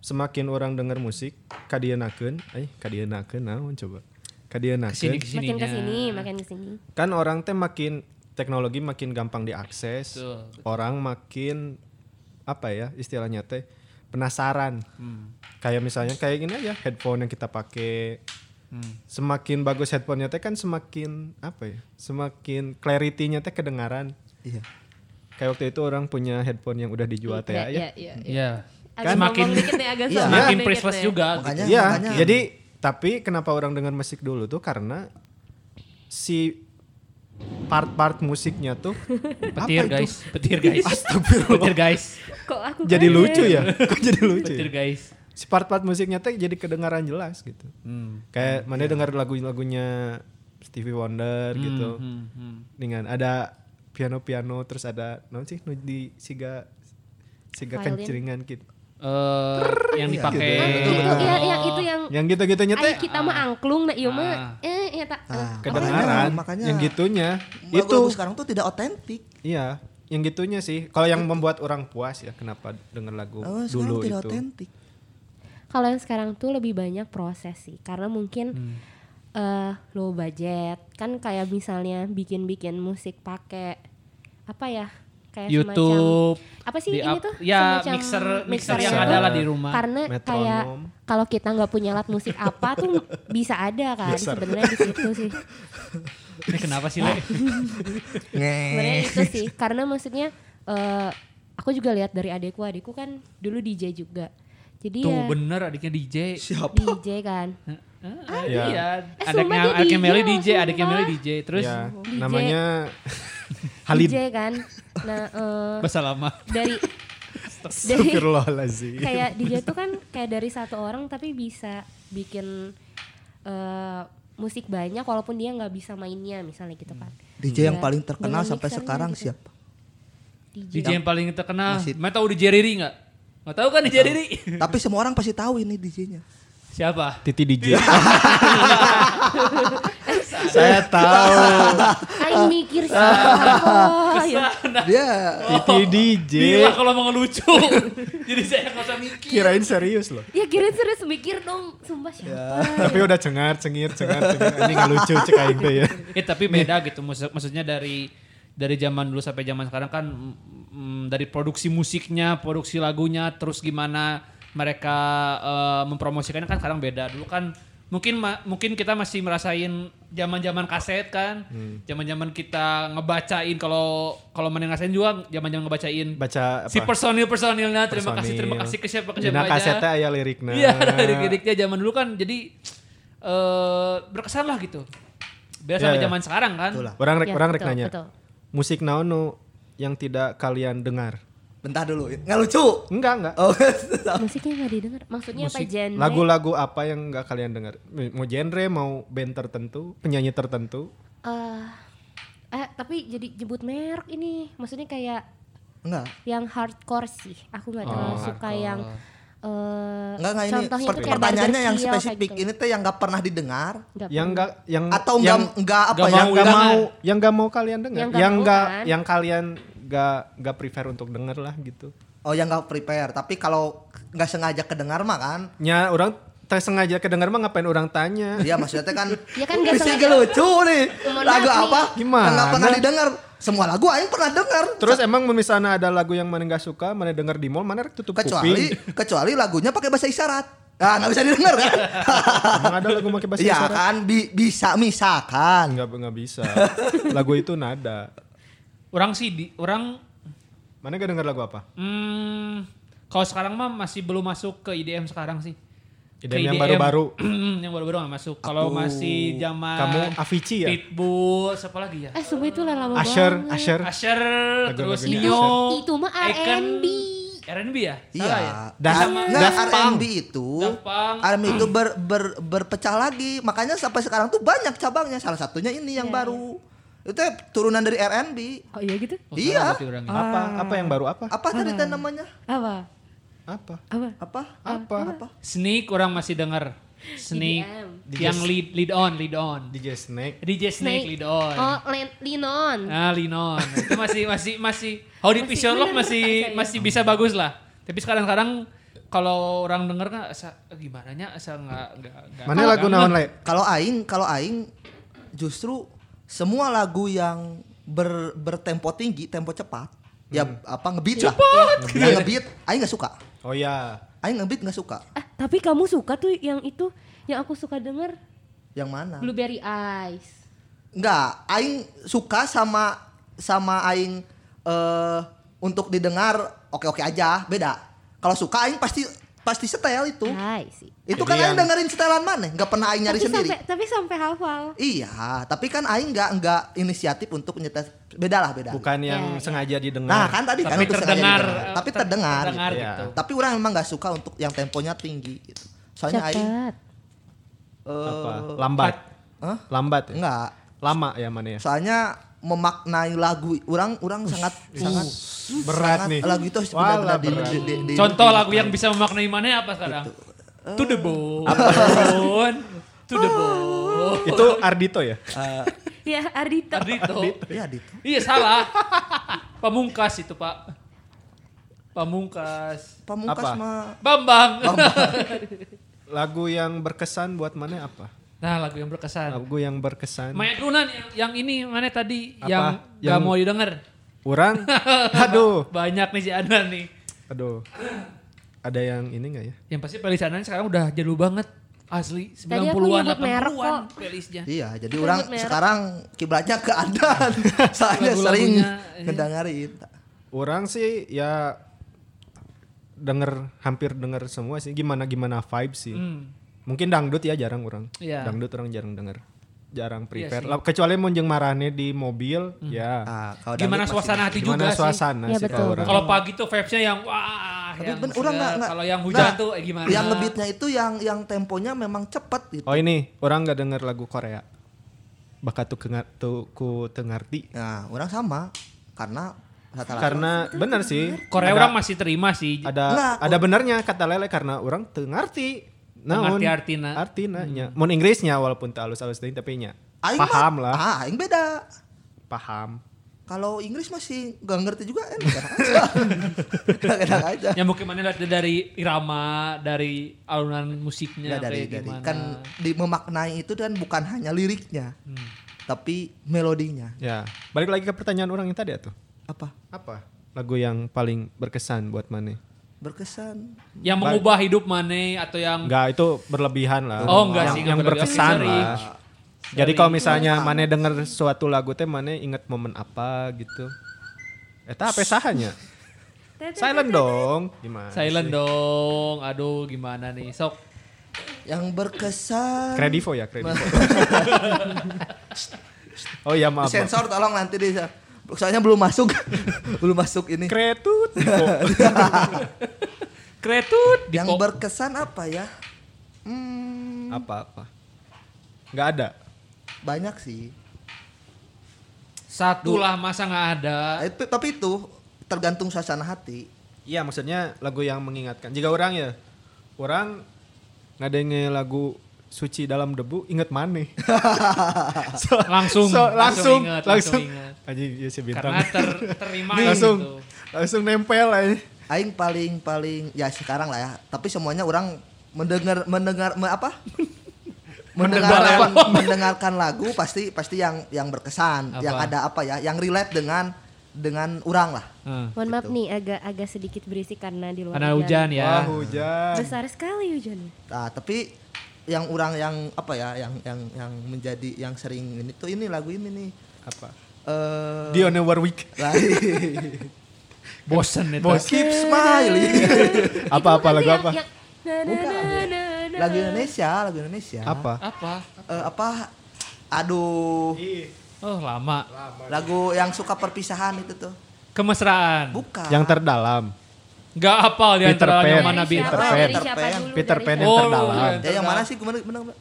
S2: semakin orang denger musik, kadienakeun, eh kadienakeun naon coba.
S1: Kesini
S2: Kadienakeun.
S1: kesininya.
S4: Makin kesini, makin kesini.
S2: Kan orang teh makin teknologi makin gampang diakses.
S1: Betul,
S2: Orang makin apa ya istilahnya teh penasaran. Kayak misalnya kayak gini aja headphone yang kita pakai. Semakin bagus headphonenya teh kan semakin apa ya? Semakin clarity-nya teh kedengaran.
S3: Iya.
S2: Kayak waktu itu orang punya headphone yang udah dijual teh ya.
S4: Iya, iya, iya.
S1: Iya.
S4: Agak
S1: Kan makin-
S4: sombong dikit deh, agak
S3: Iya.
S4: sombong
S1: Makin
S4: dikit
S1: priceless
S4: deh.
S1: juga.
S3: Makanya
S2: Iya,
S3: makanya
S2: jadi tapi kenapa orang dengar musik dulu tuh karena si part-part musiknya tuh
S1: Petir
S2: Apa itu?
S1: guys, petir guys.
S2: Astagfirullah.
S1: Petir guys.
S4: Kok aku gitu?
S2: jadi
S4: kaya?
S2: lucu ya. Kok jadi lucu?
S1: Petir
S2: ya?
S1: guys.
S2: Si part-part musiknya tuh jadi kedengaran jelas gitu.
S1: Hmm.
S2: Kayak mana dengar lagu-lagunya Stevie Wonder gitu.
S1: Hmm, hmm.
S2: Dengan ada piano-pianu terus ada non sih nu di siga siga
S4: Violin.
S2: kenceringan gitu.
S1: Eh, yang dipakai
S4: Ah, itu, itu, ya, yang itu yang
S2: Yang gitu-gitunya
S4: Ay,
S2: teh
S4: kita mah angklung nah ieu mah eh eta
S2: Ah. kedengaran.
S3: Makanya-
S2: yang gitunya
S3: itu
S2: itu
S3: sekarang tuh tidak otentik.
S2: Iya, yang gitunya sih. Kalau yang membuat orang puas ya, kenapa denger lagu
S3: Oh, sekarang
S2: dulu
S3: tidak
S2: itu?
S3: otentik.
S4: Kalau yang sekarang tuh lebih banyak proses sih, karena mungkin eh, low budget kan kayak misalnya bikin-bikin musik pakai apa ya kayak
S1: YouTube,
S4: semacam apa sih
S1: di
S4: Eh, ini
S1: up-
S4: tuh
S1: ya,
S4: semacam
S1: mixer- mixer
S2: yang
S4: itu.
S2: ada lah
S1: di rumah.
S4: karena kayak
S2: Metronom.
S4: kalau kita nggak punya alat musik apa tuh bisa ada kan
S2: Mixer.
S4: sebenarnya di situ sih
S1: Ini kenapa sih, Le?
S4: sebenarnya itu
S2: Eh.
S4: sih karena maksudnya eh, aku juga lihat dari adekku adekku kan dulu DJ juga jadi
S1: Tuh
S4: ya
S1: bener adiknya DJ.
S4: DJ kan
S1: Ah,
S2: Iya.
S1: Iya. Adiknya
S4: Eh, sumpah dia
S1: adiknya
S4: DJ,
S1: Meli DJ,
S4: sumpah.
S1: adiknya Meli DJ. Terus
S2: Ya,
S4: DJ.
S2: namanya Halid.
S4: DJ kan nah eh,
S1: bahasa lama.
S4: dari dari
S2: Astagfirullahaladzim.
S4: kayak DJ tuh kan kayak dari satu orang tapi bisa bikin eh, musik banyak walaupun dia nggak bisa mainnya misalnya gitu kan
S3: DJ yang
S4: Iya.
S3: paling terkenal
S4: Dengan
S3: sampai
S4: mixernya
S3: sekarang
S4: gitu.
S3: siapa?
S4: DJ,
S1: DJ yang paling terkenal.
S3: Masih-
S1: Mata tahu DJ Riri enggak? Enggak tahu kan DJ Riri?
S3: Tapi semua orang pasti tahu ini DJ-nya.
S1: Siapa?
S2: Titi DJ. Saya tahu
S4: Aing mikir siapa ya.
S3: Dia
S2: Titi DJ.
S1: Bila kalau mau ngelucu. Jadi saya nggak usah mikir.
S2: Kirain serius loh.
S4: ya kira serius mikir dong sumpah
S3: Ya.
S4: siapa
S2: Tapi udah cengar, cengir, cengar, cengir. Anjing lucu cek aing teh ya.
S1: Ya tapi beda gitu maksud- maksudnya dari dari zaman dulu sampai zaman sekarang kan mm, dari produksi musiknya, produksi lagunya, terus gimana mereka eh, mempromosikannya kan sekarang beda. Dulu kan mungkin ma- mungkin kita masih merasain zaman-zaman kaset kan. Zaman-zaman kita ngebacain kalau kalau mana yang ngerasain juga zaman-zaman ngebacain
S2: Baca apa?
S1: si personil-personilnya terima kasih
S2: Personil.
S1: terima kasih ke siapa ke siapa
S2: Dina
S1: aja.
S2: kasetnya aya lirikna.
S1: Iya, lirik-liriknya zaman dulu kan jadi eh berkesan lah gitu. Beda sama
S2: Iya, iya.
S1: zaman sekarang kan.
S3: Itulah.
S2: Orang rek
S4: Ya,
S2: orang rek
S4: betul,
S2: nanya.
S4: betul.
S2: Musik naon nu yang tidak kalian dengar?
S3: Bentar dulu, nggak lucu.
S2: Enggak, enggak.
S3: Oh,
S4: Musiknya nggak didengar. Maksudnya apa
S2: Musik-
S4: genre?
S2: Lagu-lagu apa yang enggak kalian dengar? Mau genre, mau band tertentu, penyanyi tertentu?
S4: Eh, eh tapi jadi jebut merek ini. Maksudnya kayak
S3: enggak.
S4: yang hardcore sih. Aku nggak terlalu
S2: Oh,
S4: suka yang eh
S3: Enggak, enggak ini
S4: contohnya
S3: per-
S4: itu kayak
S3: pertanyaannya yang
S4: Burger Kill kayak
S3: spesifik
S4: gitu.
S3: ini teh yang nggak pernah didengar
S2: yang
S4: Nggak pernah.
S2: enggak yang
S3: atau
S2: Hmm, yang
S3: enggak enggak apa
S1: nggak
S3: ya?
S2: yang enggak
S1: Nggak
S2: mau
S1: mau
S2: yang enggak mau kalian dengar,
S4: Yang nggak
S2: yang
S4: mau
S2: enggak
S4: kan?
S2: yang kalian enggak enggak prefer untuk denger lah gitu.
S3: Oh, yang nggak prepare. Tapi kalau nggak sengaja kedengar mah kan.
S2: Ya orang teh sengaja kedengar mah ngapain orang tanya?
S3: Iya, maksudnya teh kan
S4: Ya kan
S3: Ini
S4: nggak
S3: sih
S4: sengaja.
S3: lucu nih.
S4: Mohon
S3: Lagu
S4: maaf nih.
S3: apa?
S2: Gimana?
S3: Nggak pernah didengar. Semua lagu aing pernah dengar.
S2: Terus emang mun misalnya ada lagu yang mana nggak suka, mana denger di mall, mana tutup
S3: kecuali
S2: kuping.
S3: kecuali lagunya pakai bahasa isyarat. Nah, nggak bisa didengar kan?
S2: Emang ada lagu pakai bahasa
S3: Iya
S2: isyarat?
S3: kan Bi- bisa misalkan.
S2: Nggak nggak bisa. lagu itu nada.
S1: Orang sih di, orang
S2: Mana gak denger lagu apa?
S1: hmm, kalau sekarang mah masih belum masuk ke IDM sekarang sih. Ke
S2: IDM yang baru-baru.
S1: yang baru-baru nggak masuk. Kalau
S3: Aku-
S1: masih zaman
S3: Ah,
S2: Kamu Avicii ya?
S1: Pitbull, siapa lagi ya?
S4: Eh sumpah itu lah lama
S2: Asher,
S4: banget.
S2: Asher.
S1: Asher, terus
S2: Lagu-lagunya
S1: Nio.
S4: Asher. Itu mah
S1: Icon.
S4: R&B.
S1: R&B ya? Salah ya?
S3: Iya.
S2: Daft-
S3: Sama-
S2: Daft
S3: nggak,
S2: Punk.
S3: R&B itu,
S1: Daft Punk.
S3: R&B itu ber, ber- berpecah lagi. Makanya sampai sekarang tuh banyak cabangnya. Salah satunya ini yang baru. Itu ya turunan dari R&B.
S4: Oh iya gitu?
S1: Oh,
S3: Iya.
S1: salah berarti orangnya.
S2: Apa?
S4: Ah.
S2: Apa yang baru apa?
S3: Apa tadi teh namanya?
S4: Apa?
S2: Apa?
S4: Apa?
S3: Apa?
S2: Apa?
S3: Apa?
S1: Snake orang masih dengar. Snake
S4: EDM.
S1: yang lead lead on, lead on.
S2: DJ Snake. Ah.
S1: DJ Snake, lead on.
S4: Oh, Len- Linon.
S1: Nah, Linon. Itu masih masih masih Howdy
S4: Masih
S1: Pisiolog
S4: bener,
S1: masih
S4: saya.
S1: masih bisa bagus lah. Tapi sekarang-sekarang kalau orang denger kan asa, gimana nya asa nggak nggak nggak- nggak
S2: Mana
S3: kan
S2: lagu naon
S1: kangen.
S2: lain?
S3: Kalau aing, kalau aing justru semua lagu yang ber, bertempo tinggi, tempo cepat, ya apa ngebeat lah. Yang ngebeat aing nggak suka.
S2: Oh ya.
S3: Aing ngebeat nggak suka.
S4: Ah, tapi kamu suka tuh yang itu yang aku suka denger
S3: Yang mana?
S4: Blueberry Eyes.
S3: Enggak, aing suka sama sama aing eh untuk didengar oke-oke aja, beda. Kalau suka aing pasti pasti setel itu.
S4: Hai sih.
S2: Jadi
S3: Itu kan aing
S1: Iya.
S2: yang-
S3: dengerin setelan mana, nggak pernah aing nyari
S4: Ah. tapi
S3: sendiri.
S4: sampai tapi sampai hafal.
S3: Iya, tapi kan aing nggak nggak inisiatif untuk nyetel beda lah beda.
S2: Bukan yang
S4: Ya, ya.
S2: sengaja didengar.
S3: Nah kan tadi kan
S1: Tapi
S3: itu sengaja
S1: terdengar,
S3: didengar.
S1: eh,
S3: tapi
S1: ter-
S3: terdengar.
S1: terdengar
S3: gitu.
S2: gitu.
S1: gitu.
S3: Tapi orang emang nggak suka untuk yang temponya tinggi gitu. Soalnya aing
S4: Cakep.
S3: eh,
S2: apa? Lambat.
S3: Hah?
S2: Lambat. ya?
S3: nggak.
S2: Lama ya mana ya?
S3: Soalnya memaknai lagu orang orang sangat sangat
S2: Berat
S3: sangat
S2: nih.
S3: Lagu itu harus
S2: Walah,
S3: benar-benar di,
S2: berat.
S3: di, di, di-
S1: Contoh
S3: di-
S1: lagu yang bisa memaknai mana apa sekarang? To the bone. to the bone.
S2: Itu Ardito ya?
S4: Ya, Ardito.
S1: Ardito.
S3: Iya, Dito.
S1: Iya salah. Pamungkas itu pak. Pamungkas.
S3: Pamungkas
S2: Apa?
S3: mah
S1: Bambang.
S2: Lagu yang berkesan buat mana apa?
S1: nah lagu yang berkesan.
S2: Lagu yang berkesan.
S1: Maya Kunan yang, yang ini mana tadi
S2: Apa?
S1: yang, gak
S2: Yang-
S1: mau didengar.
S2: Orang. Aduh.
S1: Banyak nih si Anan nih.
S2: Aduh. Ada yang ini nggak ya?
S1: Yang pasti playlist Anan sekarang udah jadul banget. Asli
S4: Tadi aku
S1: 90-an,
S4: nyebut merek
S1: 80-an
S4: kok.
S1: playlistnya.
S3: Iya, jadi orang
S4: merah.
S3: sekarang kiblatnya ke adan. Soalnya sering
S1: Lagu-lagunya, iya.
S3: ngedengerin.
S2: Orang sih ya denger hampir denger semua sih gimana gimana vibe sih.
S1: Hmm.
S2: Mungkin dangdut ya jarang orang.
S1: Iya.
S2: Dangdut orang jarang denger. Jarang prepare.
S1: sih.
S2: Lah, Kecuali monjeng marane di mobil ya.
S3: Ah, kalau
S1: Gimana
S3: dangdut masih-
S1: suasana hati
S2: Gimana
S1: juga sih.
S2: suasana
S4: Iya,
S2: sih
S4: betul,
S2: kalau orang.
S1: Kalau pagi tuh vibes-nya yang wah.
S3: Tapi
S1: yang
S3: ben, orang
S1: segar.
S3: nggak nggak-
S1: Kalau yang hujan
S3: nggak.
S1: tuh eh, gimana.
S3: Yang ngebitnya itu yang yang temponya memang cepet gitu.
S2: Oh ini orang nggak denger lagu Korea. Bakat tuh kengar- tuh ku tengarti.
S3: Nah, orang sama karena rata-rata
S2: Karena bener sih.
S1: Korea
S2: ada,
S1: orang masih terima sih.
S2: ada
S3: Nggak,
S2: ada benernya kata Lele karena orang tengarti.
S1: Tengarti artina. Hmm.
S2: Artina nya. Mun Inggrisnya walaupun tak alus-alus teuing tapi nya.
S3: Aing
S2: paham
S3: mah-
S2: lah,
S3: Ah, aing beda.
S2: paham.
S3: Kalau Inggris masih gak ngerti juga eh, enak aja. Enak aja.
S1: Ya mungkin mana lihat dari irama, dari alunan musiknya
S3: Nggak, dari,
S1: kayak
S3: dari
S1: gimana.
S3: kan di memaknai itu kan bukan hanya liriknya,
S1: Hmm.
S3: tapi melodinya.
S2: Ya, balik lagi ke pertanyaan orang yang tadi tuh.
S3: Apa?
S2: Apa lagu yang paling berkesan buat Mane?
S3: Berkesan.
S1: yang mengubah hidup Mane atau yang
S2: Enggak, itu berlebihan lah.
S1: Oh, enggak
S2: yang,
S1: sih, enggak
S2: yang
S1: berlebihan.
S2: berkesan
S1: Sorry.
S2: lah. Jadi kalau misalnya Mane denger suatu lagu teh Mane inget momen apa gitu. Eta apa sahanya? Silent dong. Gimana?
S1: silent
S2: sih?
S1: dong. Aduh gimana nih. Sok
S3: Yang berkesan.
S2: Kredivo ya, kredivo. oh iya maaf. maaf.
S3: Sensor tolong nanti di Soalnya belum masuk. belum masuk ini.
S2: Kretut. Oh,
S1: Kretut di
S3: Yang
S1: pop.
S3: berkesan apa ya? Hmm,
S2: Apa-apa. Nggak ada.
S3: banyak sih.
S1: Satu lah masa nggak ada.
S3: Nah, itu tapi itu tergantung suasana hati.
S2: Iya maksudnya lagu yang mengingatkan. Jika orang ya, orang ngadenge lagu suci dalam debu inget mana? So-
S1: Langsung, langsung
S2: so- langsung,
S1: inget, langsung
S2: langsung.
S1: inget.
S2: Anjing, iya si bintang.
S1: Karena ter, terima
S2: langsung,
S1: gitu.
S2: langsung nempel aja.
S3: Aing paling paling ya sekarang lah ya. Tapi semuanya orang mendengar mendengar me- apa? mendengarkan mendengarkan lagu pasti pasti yang yang
S1: Apa?
S3: berkesan, yang ada apa ya, yang relate dengan dengan orang lah.
S1: Heeh.
S4: Mohon maaf nih agak agak sedikit berisik karena di luar
S1: Karena hujan ya.
S2: Wah hujan.
S4: Besar sekali hujannya.
S3: Nah, tapi yang orang yang apa ya, yang yang yang menjadi yang sering ini tuh ini lagu ini nih.
S2: Apa?
S3: Eh
S2: Dionne Warwick.
S3: lain.
S1: Bosen itu.
S2: Bos.
S3: Keep smile.
S2: Apa-apa lagu apa?
S3: lagu Indonesia, lagu Indonesia.
S2: Apa?
S1: Apa?
S3: Eh, apa? Aduh.
S1: Oh lama.
S3: Lagu yang suka perpisahan itu tuh.
S1: Kemesraan.
S3: Bukan.
S2: Yang terdalam.
S1: Gak apal di
S2: Peter
S1: antara
S2: Pan.
S1: yang mana bi.
S2: Peter Pan. Peter Pan yang
S1: Oh,
S2: terdalam.
S1: iya.
S3: ya, yang mana sih? Gimana? Bener, bener.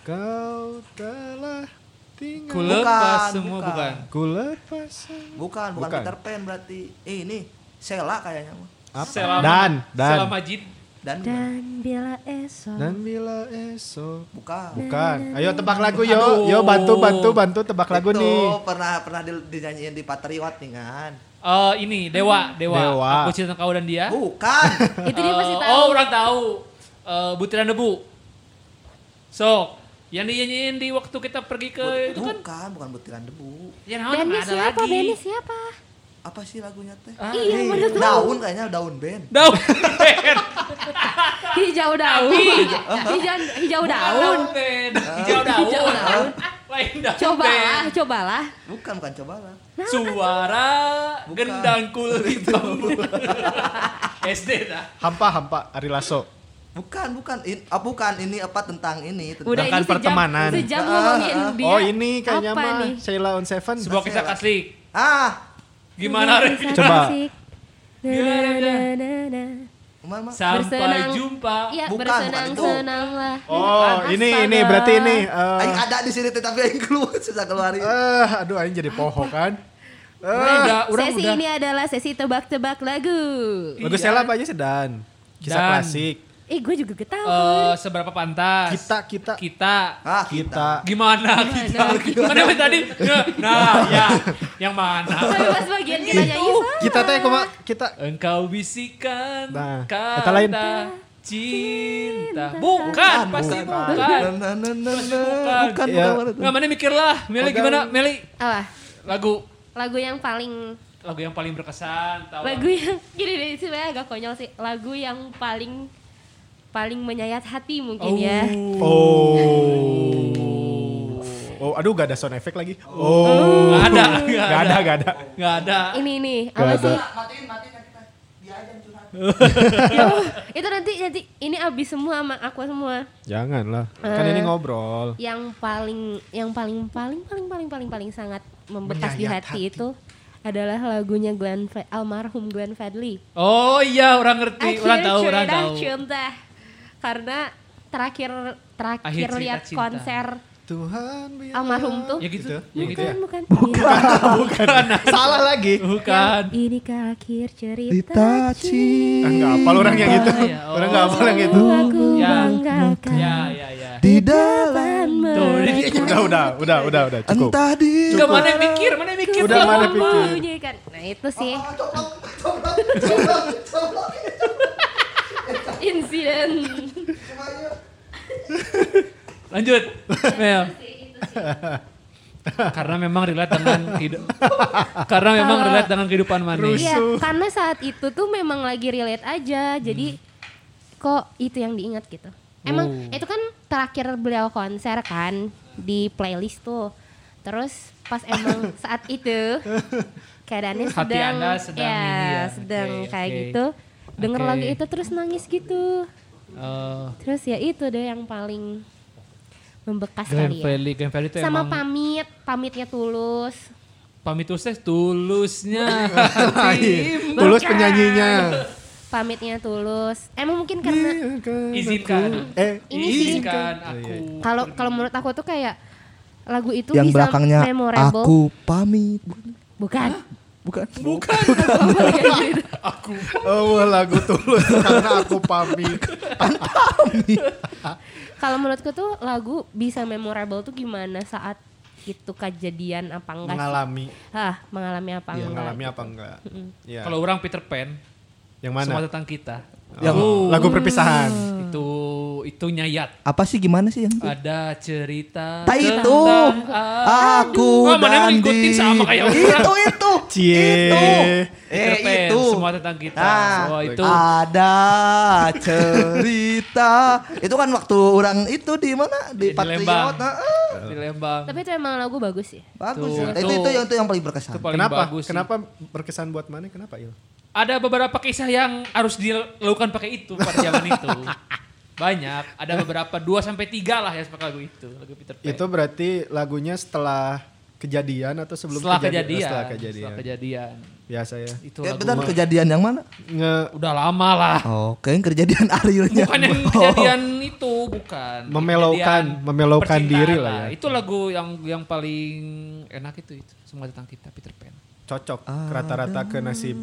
S2: Kau telah tinggal.
S1: Ku lepas
S3: Bukan,
S1: semua
S3: bukan.
S1: bukan.
S2: Ku lepas.
S3: Bukan, bukan,
S2: Bukan.
S3: Peter Pan berarti. Eh, ini Sela kayaknya. mah.
S2: Apa?
S1: Selama-
S2: Dan, dan.
S1: Selama jid.
S3: Dan,
S4: Dan bila esok
S2: Dan bila esok
S3: bukan.
S2: Bukan. Ah. Hmm. Ayo tebak lagu
S1: Aduh.
S2: yo. Yo bantu bantu bantu tebak lagu
S4: Gitu.
S3: Itu
S2: nih.
S3: pernah pernah di- dinyanyiin di Patriot nih kan.
S1: Eh, ini Dewa, Dewa.
S2: Dewa.
S1: Aku cinta kau dan dia.
S3: Bukan.
S4: Oh, itu dia pasti
S1: Eh,
S4: tahu.
S1: Oh, orang tahu. Eh, butiran debu. Sok, yang dinyanyiin di waktu kita pergi ke itu kan
S3: bukan, bukan butiran debu.
S1: yang
S4: Bandnya
S1: ada
S4: siapa?
S1: lagi.
S4: Bandnya siapa?
S3: Apa sih lagunya teh?
S1: Ah,
S4: Iya,
S1: ini.
S4: bener tahu.
S3: Daun kayaknya daun band.
S1: Daun.
S4: Hijau daun. Hijau, hijau Oh, daun. Ah.
S1: Ben. Hijau daun.
S4: Hijau daun.
S1: Lain daun.
S4: Cobalah,
S1: Ben.
S4: cobalah.
S3: Bukan, bukan cobalah.
S1: Suara
S3: Bukan.
S1: gendang kulit bambu. SD dah.
S2: Hampa hampa Ari Lasso.
S3: Bukan, bukan. In, ah, bukan ini apa tentang ini tentang
S4: Udah ini
S2: Bahkan
S4: sejam,
S2: pertemanan.
S4: sejam ngomongin dia.
S2: Oh ini kayaknya
S4: apa
S2: mah
S4: nih?
S2: Sheila on Seven.
S1: Sebuah kisah kasih.
S3: Ah,
S1: Gimana Re?
S4: Bisa
S2: Coba.
S4: musik. Na,
S1: Gimana, Re?
S4: na, na, na, na.
S3: mama.
S1: Sampai
S4: Bersenang-
S1: jumpa.
S4: Iya,
S3: Bukan, bukan
S4: bersenang-senanglah.
S2: Oh ini ini
S4: Astaga.
S2: berarti ini. eh,
S3: Aing ada di sini tetapi aing keluar susah keluarin.
S2: eh, aduh Aing jadi poho kan.
S1: Orang udah, orang
S4: Sesi
S1: udah.
S4: ini adalah sesi tebak-tebak lagu.
S2: Lagu
S1: Iya.
S2: Sheila apa aja sedan. Kisah
S1: Dan.
S2: klasik.
S4: Eh, gue juga ketahuan.
S1: Eh, seberapa pantas?
S2: Kita kita
S1: Kita.
S3: Ah,
S2: kita.
S3: kita.
S1: Gimana kita? Mana yang tadi? Nah, Nah, ya. Yang mana?
S4: Tapi pas bagian kita nyanyi sama.
S2: Kita teh kuma kita
S1: Engkau bisikan
S2: Nah, kata
S1: kata
S2: lain.
S1: cinta. Bukan, pasti bukan.
S3: Na, na, na, na, na. Bukan,
S2: Ya.
S3: bukan, bukan.
S1: Nggak, mana mikirlah. Meli gimana? Meli,
S4: Apa?
S1: lagu
S4: Lagu yang paling
S1: lagu yang paling berkesan tahu
S4: lagu yang gini deh sebenarnya agak konyol sih. Lagu yang paling paling menyayat hati mungkin ya.
S1: Oh.
S2: Oh. Oh, aduh gak ada sound effect lagi. Oh.
S1: Nggak ada, nggak
S2: Gak ada, gak ada.
S1: nggak ada
S4: Ini nih, apa sih?
S3: Matiin, matiin kan kita. Dia aja yang curhat.
S4: Ya Itu nanti nanti ini abis semua sama aku semua.
S2: Janganlah. Kan
S4: Eh.
S2: ini ngobrol.
S4: yang paling yang paling paling paling paling paling paling sangat membekas di
S2: Menyayat
S4: hati, itu adalah lagunya Glenn Fa- almarhum Glenn Fadli.
S1: oh iya orang ngerti
S4: Akhir
S1: orang tahu orang
S4: cerita
S1: tahu
S4: cinta. Karena terakhir
S1: Akhir
S4: terakhir
S1: cerita
S4: lihat
S1: cinta.
S4: konser
S2: Tuhan biar-
S4: almarhum tuh.
S1: ya gitu ya gitu
S4: Bukan,
S1: ya
S4: bukan.
S2: Bukan. Nah, Salah lagi.
S1: bukan
S4: Ini, ini ke akhir
S2: Ah,
S4: cerita.
S2: Enggak apa orang yang itu.
S1: Ah, ya, oh.
S2: Orang enggak apa yang gitu. itu.
S4: cinta. Aku
S1: Ya.
S4: banggakan
S1: ya ya ya
S3: Di dalam
S4: dengan
S1: Tuh, ini
S4: mereka.
S2: Udah, udah, udah, udah, udah, cukup.
S3: entah di
S1: Enggak, mana yang mikir mana yang mikir
S2: Udah,
S1: Tahu.
S2: mana pikir.
S4: Bunyikan. Nah itu sih insiden.
S1: lanjut Mel karena memang relate dengan hidup karena memang
S4: Kalau-
S1: relate dengan kehidupan manis
S4: Iya, karena saat itu tuh memang lagi relate aja. Jadi kok itu yang diingat gitu. Emang
S1: Hmm. Oh.
S4: itu kan terakhir beliau konser kan di playlist tuh. Terus pas emang saat itu keadaannya
S1: Hati
S4: sedang
S1: Anda sedang
S4: ya,
S1: ini ya.
S4: sedang
S1: Oke,
S4: kayak
S1: oke.
S4: gitu. Denger
S1: Oke.
S4: lagu itu terus nangis gitu.
S1: Eh,
S4: Terus ya itu deh yang paling membekas
S1: Glenn
S4: kali ya.
S1: Fredly Glenn Fredly itu
S4: Sama
S1: emang
S4: pamit, pamitnya tulus.
S1: Pamit tulus teh tulusnya. hatimu.
S2: Tulus penyanyinya.
S4: Pamitnya tulus. Emang mungkin karena
S1: Izinkan.
S3: Eh,
S4: Ini
S1: Izinkan
S2: Oh, iya,
S1: aku.
S4: kalau kalau menurut aku tuh kayak lagu itu
S3: yang
S4: bisa
S3: belakangnya
S4: memorable.
S3: aku pamit.
S4: Bukan.
S3: Bukan.
S1: Bukan.
S2: oh lagu tulus karena aku pamit.
S4: Kalau menurutku tuh lagu bisa memorable tuh gimana saat itu kejadian apa enggak sih?
S2: Mengalami.
S4: Hah, mengalami apa
S2: Iya,
S4: enggak?
S2: mengalami apa enggak? Iya.
S1: Kalau orang Peter Pan,
S2: yang
S1: semua
S2: mana?
S1: tentang kita.
S2: Yang lagu perpisahan.
S3: Hmm.
S1: Itu itu nyayat.
S3: Apa sih gimana sih yang itu?
S1: Ada cerita
S3: Tak Nah, itu. Aku
S1: Oh, mana emang
S3: dan
S1: ngikutin
S3: di-
S1: sama kayak orang.
S3: Itu itu.
S2: Cie.
S3: Itu.
S1: Peter
S3: Eh
S1: Pan,
S3: itu.
S1: semua tentang kita.
S3: Nah,
S1: Wah, itu.
S2: Ah,
S3: ada cerita. itu kan waktu orang itu di mana? Di
S1: Di
S3: Patriot.
S1: Lembang.
S3: nah, eh,
S1: di Lembang.
S4: Tapi itu emang lagu bagus sih.
S3: Bagus.
S1: Tuh,
S3: ya.
S1: itu-
S3: Itu itu yang itu yang paling berkesan.
S1: Itu paling
S2: kenapa?
S1: bagus. sih.
S2: Kenapa berkesan buat mana? Kenapa Il?
S1: Ada beberapa kisah yang harus dilakukan pakai itu pada zaman itu. Banyak, ada beberapa 2 sampai 3 lah yang pakai lagu itu, lagu Peter Pan.
S2: Itu berarti lagunya setelah kejadian atau sebelum
S1: setelah
S2: kejadian?
S1: kejadian,
S2: Setelah kejadian.
S1: setelah kejadian.
S2: Biasa ya.
S1: Itu
S3: Eh,
S1: lagu
S3: bentar,
S1: mah.
S3: kejadian yang mana?
S2: Nge
S1: udah lama lah.
S3: Oh, kayaknya kejadian Arielnya.
S1: Bukan yang kejadian itu, bukan.
S2: Memelaukan-
S1: Kejadian
S2: memelaukan
S1: percintaan
S2: diri lah ya.
S1: Itu lagu yang yang paling enak itu itu. Semua tentang kita Peter Pan.
S2: cocok rata-rata ke nasib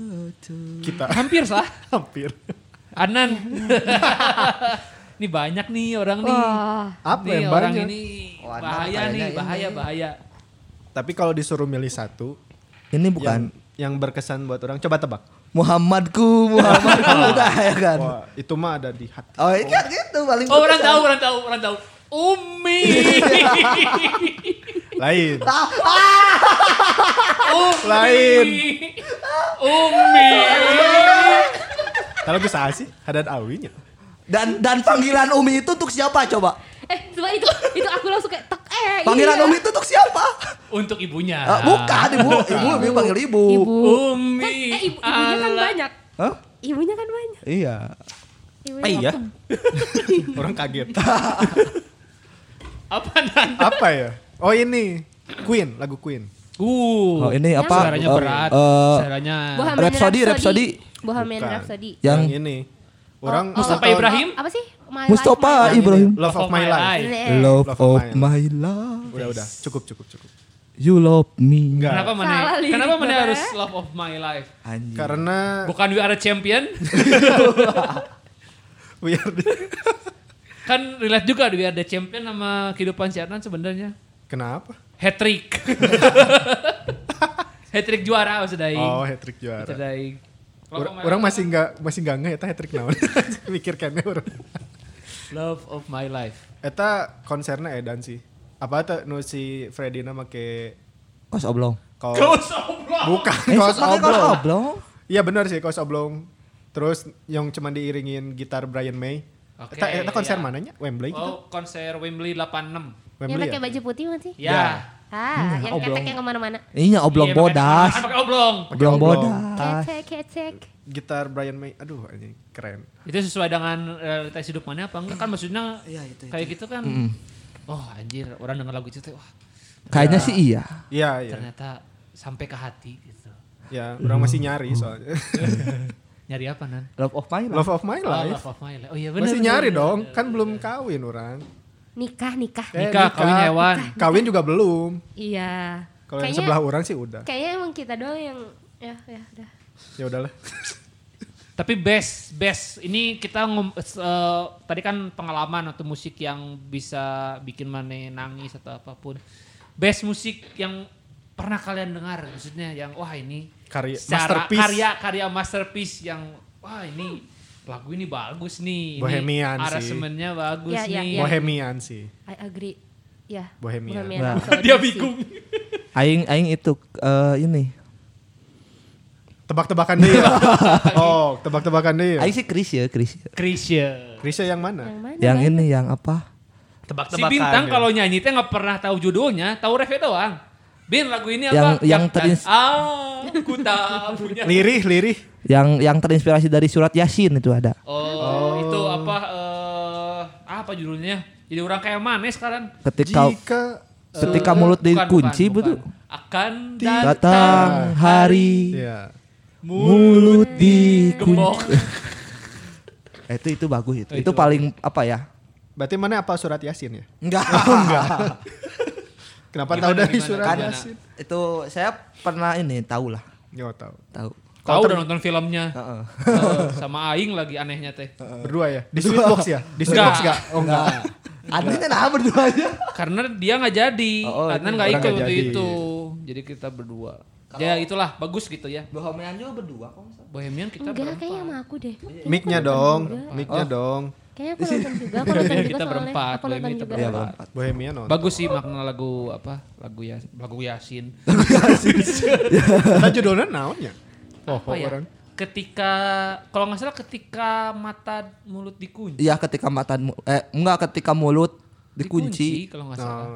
S2: kita.
S1: Hampir sah.
S2: Hampir.
S1: Anan. Ini banyak nih orang nih.
S4: Wah.
S2: Apa
S1: nih
S2: yang
S1: orang
S2: banyak?
S1: ini
S3: Oh, Anan
S1: bahaya
S3: kayaknya
S1: nih,
S3: ini.
S1: bahaya bahaya.
S2: Tapi kalau disuruh milih satu
S3: Ini bukan
S2: yang, yang berkesan buat orang, coba tebak.
S3: Muhammadku, Muhammadku udah ya kan.
S2: Wah, itu mah ada di hati.
S3: Oh, ini kan gitu paling.
S1: Oh, orang
S3: berkesan.
S1: tahu, orang tahu, orang tahu. Umi.
S2: Lain.
S1: Umi.
S2: Lain.
S1: Umi.
S2: Kalau bisa sih, hadat awinya.
S3: Dan dan panggilan Umi itu untuk siapa coba?
S4: Eh, coba itu itu aku langsung kayak tek eh.
S3: Panggilan
S4: iya.
S3: Umi itu untuk siapa?
S1: Untuk ibunya.
S3: Ah, bukan ibu, ibu, ibu panggil ibu.
S4: Ibu.
S1: Umi.
S4: Kan, eh, ibu, ibunya kan
S1: ala-
S4: banyak.
S3: Hah?
S4: Ibunya kan banyak.
S3: Iya.
S4: Ibunya
S3: Eh, iya.
S2: Orang kaget.
S1: Apa Nan?
S2: Apa ya? Oh ini Queen, lagu Queen.
S1: Uh,
S3: Oh, ini apa?
S1: Suaranya
S3: Eh,
S1: berat.
S3: eh,
S1: suaranya.
S4: Bohemian
S3: Rhapsody, Rhapsody. Ya,
S4: Bohemian
S2: Bukan.
S4: Rhapsody.
S3: Yang-
S2: ini. Orang
S1: Oh, Mustafa
S2: tahun-
S1: Ibrahim?
S4: Apa sih? Oh, My
S3: Mustafa
S4: Life, My
S3: Ibrahim.
S2: Love of my life.
S4: Life.
S3: Love
S2: Love of
S3: of my life.
S2: Udah udah, cukup cukup cukup.
S3: You love me.
S2: Enggak.
S1: Kenapa mana?
S4: Salah lirik
S1: Kenapa mana
S4: gue.
S1: harus love of my life?
S3: Anjir.
S2: Karena
S1: Bukan we are a champion?
S2: we are the-
S1: kan relate juga we are the champion sama kehidupan si Adnan sebenarnya.
S2: Kenapa?
S1: Hat trick. hat trick juara maksud aing.
S2: Oh, hat trick
S1: Maksud
S2: juara.
S1: aing. Love
S2: Ur-
S1: of my
S2: Orang
S1: life.
S2: masih nggak masih nggak nge eta hat trick naon. Mikirkannya orang.
S1: love of my life.
S2: Eta konsernya edan sih. Apa tuh nu si Fredina make
S3: Kos oblong.
S2: kaos
S1: Ghost of love.
S2: bukan
S3: Eh,
S2: kaos
S3: pakai kaos
S2: oblong.
S3: oblong.
S2: Iya benar sih kaos oblong. Terus yang cuman diiringin gitar Brian May.
S1: Oke,
S2: Eta, eta konser
S1: iya.
S2: mananya? Wembley gitu.
S1: Oh, konser Wembley 86.
S4: Yang
S2: Wembley.
S4: Iya, pakai
S2: ya?
S4: baju putih bukan sih?
S1: Ya. Hmm, oh,
S2: Ya.
S4: Ah, yang
S3: oblong.
S4: ketek yang kemana-mana.
S3: Ini oblong
S1: Iya, pakai-
S3: bodas.
S1: Pakai oblong.
S3: Oblong
S2: oblong.
S1: Ah.
S3: bodas.
S4: Ketek, ketek.
S2: Gitar Brian May. Aduh, anjing keren.
S1: itu sesuai dengan realitas hidup mana apa enggak kan maksudnya
S3: Iya, itu,
S1: kayak gitu kan oh anjir orang dengar lagu itu teh wah
S3: Kayaknya sih iya.
S2: Iya, iya.
S1: ternyata sampai ke hati gitu
S2: Ya, orang masih nyari soalnya.
S1: nyari apa nan
S3: Love of my life.
S2: Love of my
S1: Oh,
S2: life.
S1: Love of My Life. oh iya benar
S2: Masih nyari dong, kan belum kawin orang.
S4: Nikah, nikah.
S1: Eh. Nikah, kawin hewan.
S2: Kawin juga belum.
S4: Iya.
S2: Kalau yang sebelah orang sih udah.
S4: Kayaknya emang kita doang yang ya ya udah.
S2: Ya udahlah.
S1: tapi best best ini kita ngom- s- eh, tadi kan pengalaman atau musik yang bisa bikin mana nangis atau apapun best musik yang pernah kalian dengar maksudnya yang wah ini
S2: Karya
S1: secara
S2: masterpiece.
S1: karya karya masterpiece yang wah ini lagu ini bagus nih ini
S2: Bohemian sih.
S1: aransemennya bagus
S4: Ya, ya,
S1: nih
S4: ya.
S2: Bohemian sih.
S4: I agree. Ya.
S2: Bohemian.
S3: Nah.
S4: Rhapsody
S1: dia
S4: sih.
S1: bingung
S3: Aing aing itu eh, ini.
S2: Tebak-tebakan deh. oh, tebak-tebakan deh.
S3: Aing sih Chris ya, Chris.
S1: Krisya
S2: Krisya yang
S4: Yang
S2: mana?
S4: mana? ya?
S3: Yang ini yang apa?
S1: si
S2: Tebak-tebakan.
S1: bintang
S2: ya.
S1: kalau nyanyi teh nggak pernah tahu judulnya tahu refnya doang bin lagu ini
S3: Yang-
S1: apa
S3: yang
S1: dan-
S3: terins-
S1: ah aku tak punya
S2: lirih, lirih.
S3: Yang yang terinspirasi dari surat Yasin itu ada.
S1: Oh, itu apa eh apa judulnya? Jadi orang kayak mana sekarang?
S3: Ketika
S2: Jika
S5: Ketika
S1: Eh,
S5: mulut
S1: bukan,
S5: dikunci,
S1: bukan,
S5: betul.
S1: bukan. Akan
S5: Datang hari
S2: Iya.
S5: mulut
S1: gembok.
S5: dikunci. Eh, itu itu bagus itu.
S1: Eh,
S5: Itu
S1: itu
S5: paling apa ya?
S2: Berarti mana apa surat Yasin ya?
S3: Enggak.
S2: Kenapa
S1: Gimana,
S2: tahu dari
S1: gimana,
S2: surat
S1: gimana?
S2: Yasin?
S3: itu saya pernah ini tahu lah,
S2: Yo tahu.
S3: tahu.
S1: Tahu udah nonton filmnya.
S3: Heeh.
S1: Eh, sama aing lagi anehnya teh.
S2: Berdua ya? Di sweet box ya? Di sweet
S1: Enggak.
S2: box enggak? Oh enggak.
S3: Adanya nah berdua aja.
S1: Karena dia nggak jadi,
S3: Oh, oh,
S1: karena
S3: itu
S1: nggak
S2: orang
S1: ikut
S2: nggak
S1: waktu
S2: jadi.
S1: itu. Jadi kita berdua. Ya itulah bagus gitu ya.
S3: Bohemian juga berdua kok. misalnya.
S1: Bohemian kita
S4: Enggak,
S1: berempat.
S4: kayaknya sama aku deh. Kayaknya aku
S2: Mic-nya
S4: nonton
S2: dong,
S4: juga.
S2: mic-nya dong.
S4: Kayaknya aku nonton juga, aku nonton juga
S1: Kita
S4: soalnya.
S1: berempat,
S4: Aku nonton
S1: Bohemian kita
S4: juga.
S3: Iya,
S1: berempat.
S2: Bohemia non.
S1: Bagus sih makna lagu apa? Lagu ya lagu Yasin.
S2: Kita judulnya naonnya? Oh,
S1: Apa ya? Ketika kalau nggak salah ketika mata mulut dikunci.
S3: Iya ketika mata mu- eh enggak ketika mulut dikunci. Nah.
S1: Dikunci, kalau nggak salah.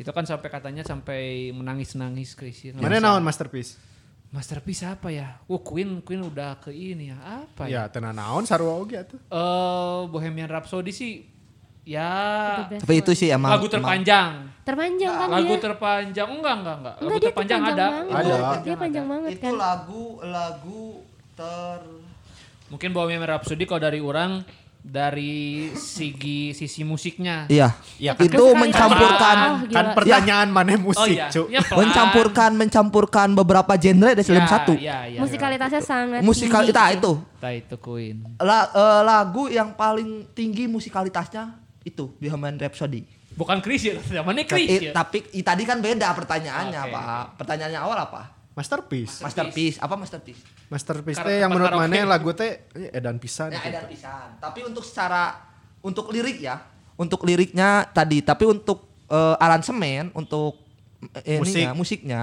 S1: Itu kan sampai katanya sampai menangis-nangis Chrisye.
S2: Mana naon masterpiece?
S1: Masterpiece apa ya? Oh Queen, Queen udah ke ini ya. Apa ya?
S2: Ya, tenan naon sarua oge atuh.
S1: Eh, Bohemian Rhapsody sih ya
S4: Itu best
S3: Tapi itu sih emang
S1: lagu
S3: emang-
S1: terpanjang.
S4: Terpanjang kan
S1: Lagu
S4: dia.
S1: terpanjang enggak enggak enggak. Lagu
S4: Enggak, dia
S1: terpanjang ada.
S4: terpanjang
S2: banget. Ada.
S4: Dia panjang banget
S3: itu
S4: kan.
S3: lagu lagu ter
S1: Mungkin Bohemian Rhapsody kalau dari orang dari segi sisi musiknya.
S3: Iya.
S2: Ya, kan
S3: itu
S4: Terus sekali-
S3: mencampurkan
S4: Oh, gila.
S2: Kan pertanyaan mana musik, Cuk.
S1: Ya, pelan.
S3: mencampurkan mencampurkan beberapa genre
S2: Eh,
S3: dari film
S1: Ya,
S3: satu.
S1: Ya, ya,
S4: iya. Musikalitasnya sangat
S3: Musikal
S4: tinggi.
S3: itu itu.
S1: Tah, itu Queen.
S3: La- eh, lagu yang paling tinggi musikalitasnya itu Bohemian Rhapsody.
S1: Bukan Chris ya, mana Chris
S3: Tapi,
S1: ya?
S3: tapi i- tadi kan beda pertanyaannya,
S1: Oke.
S3: Pak. Pertanyaannya awal apa?
S2: Masterpiece.
S3: Masterpiece, apa masterpiece?
S2: Masterpiece
S1: Karena
S2: teh yang menurut
S1: karaoke.
S2: mana lagu teh eh, edan pisan.
S3: Ya
S2: gitu.
S3: edan pisan. Tapi untuk secara untuk lirik ya, untuk liriknya tadi, tapi untuk eh, aransemen, untuk eh,
S2: Musik.
S3: ininya, musiknya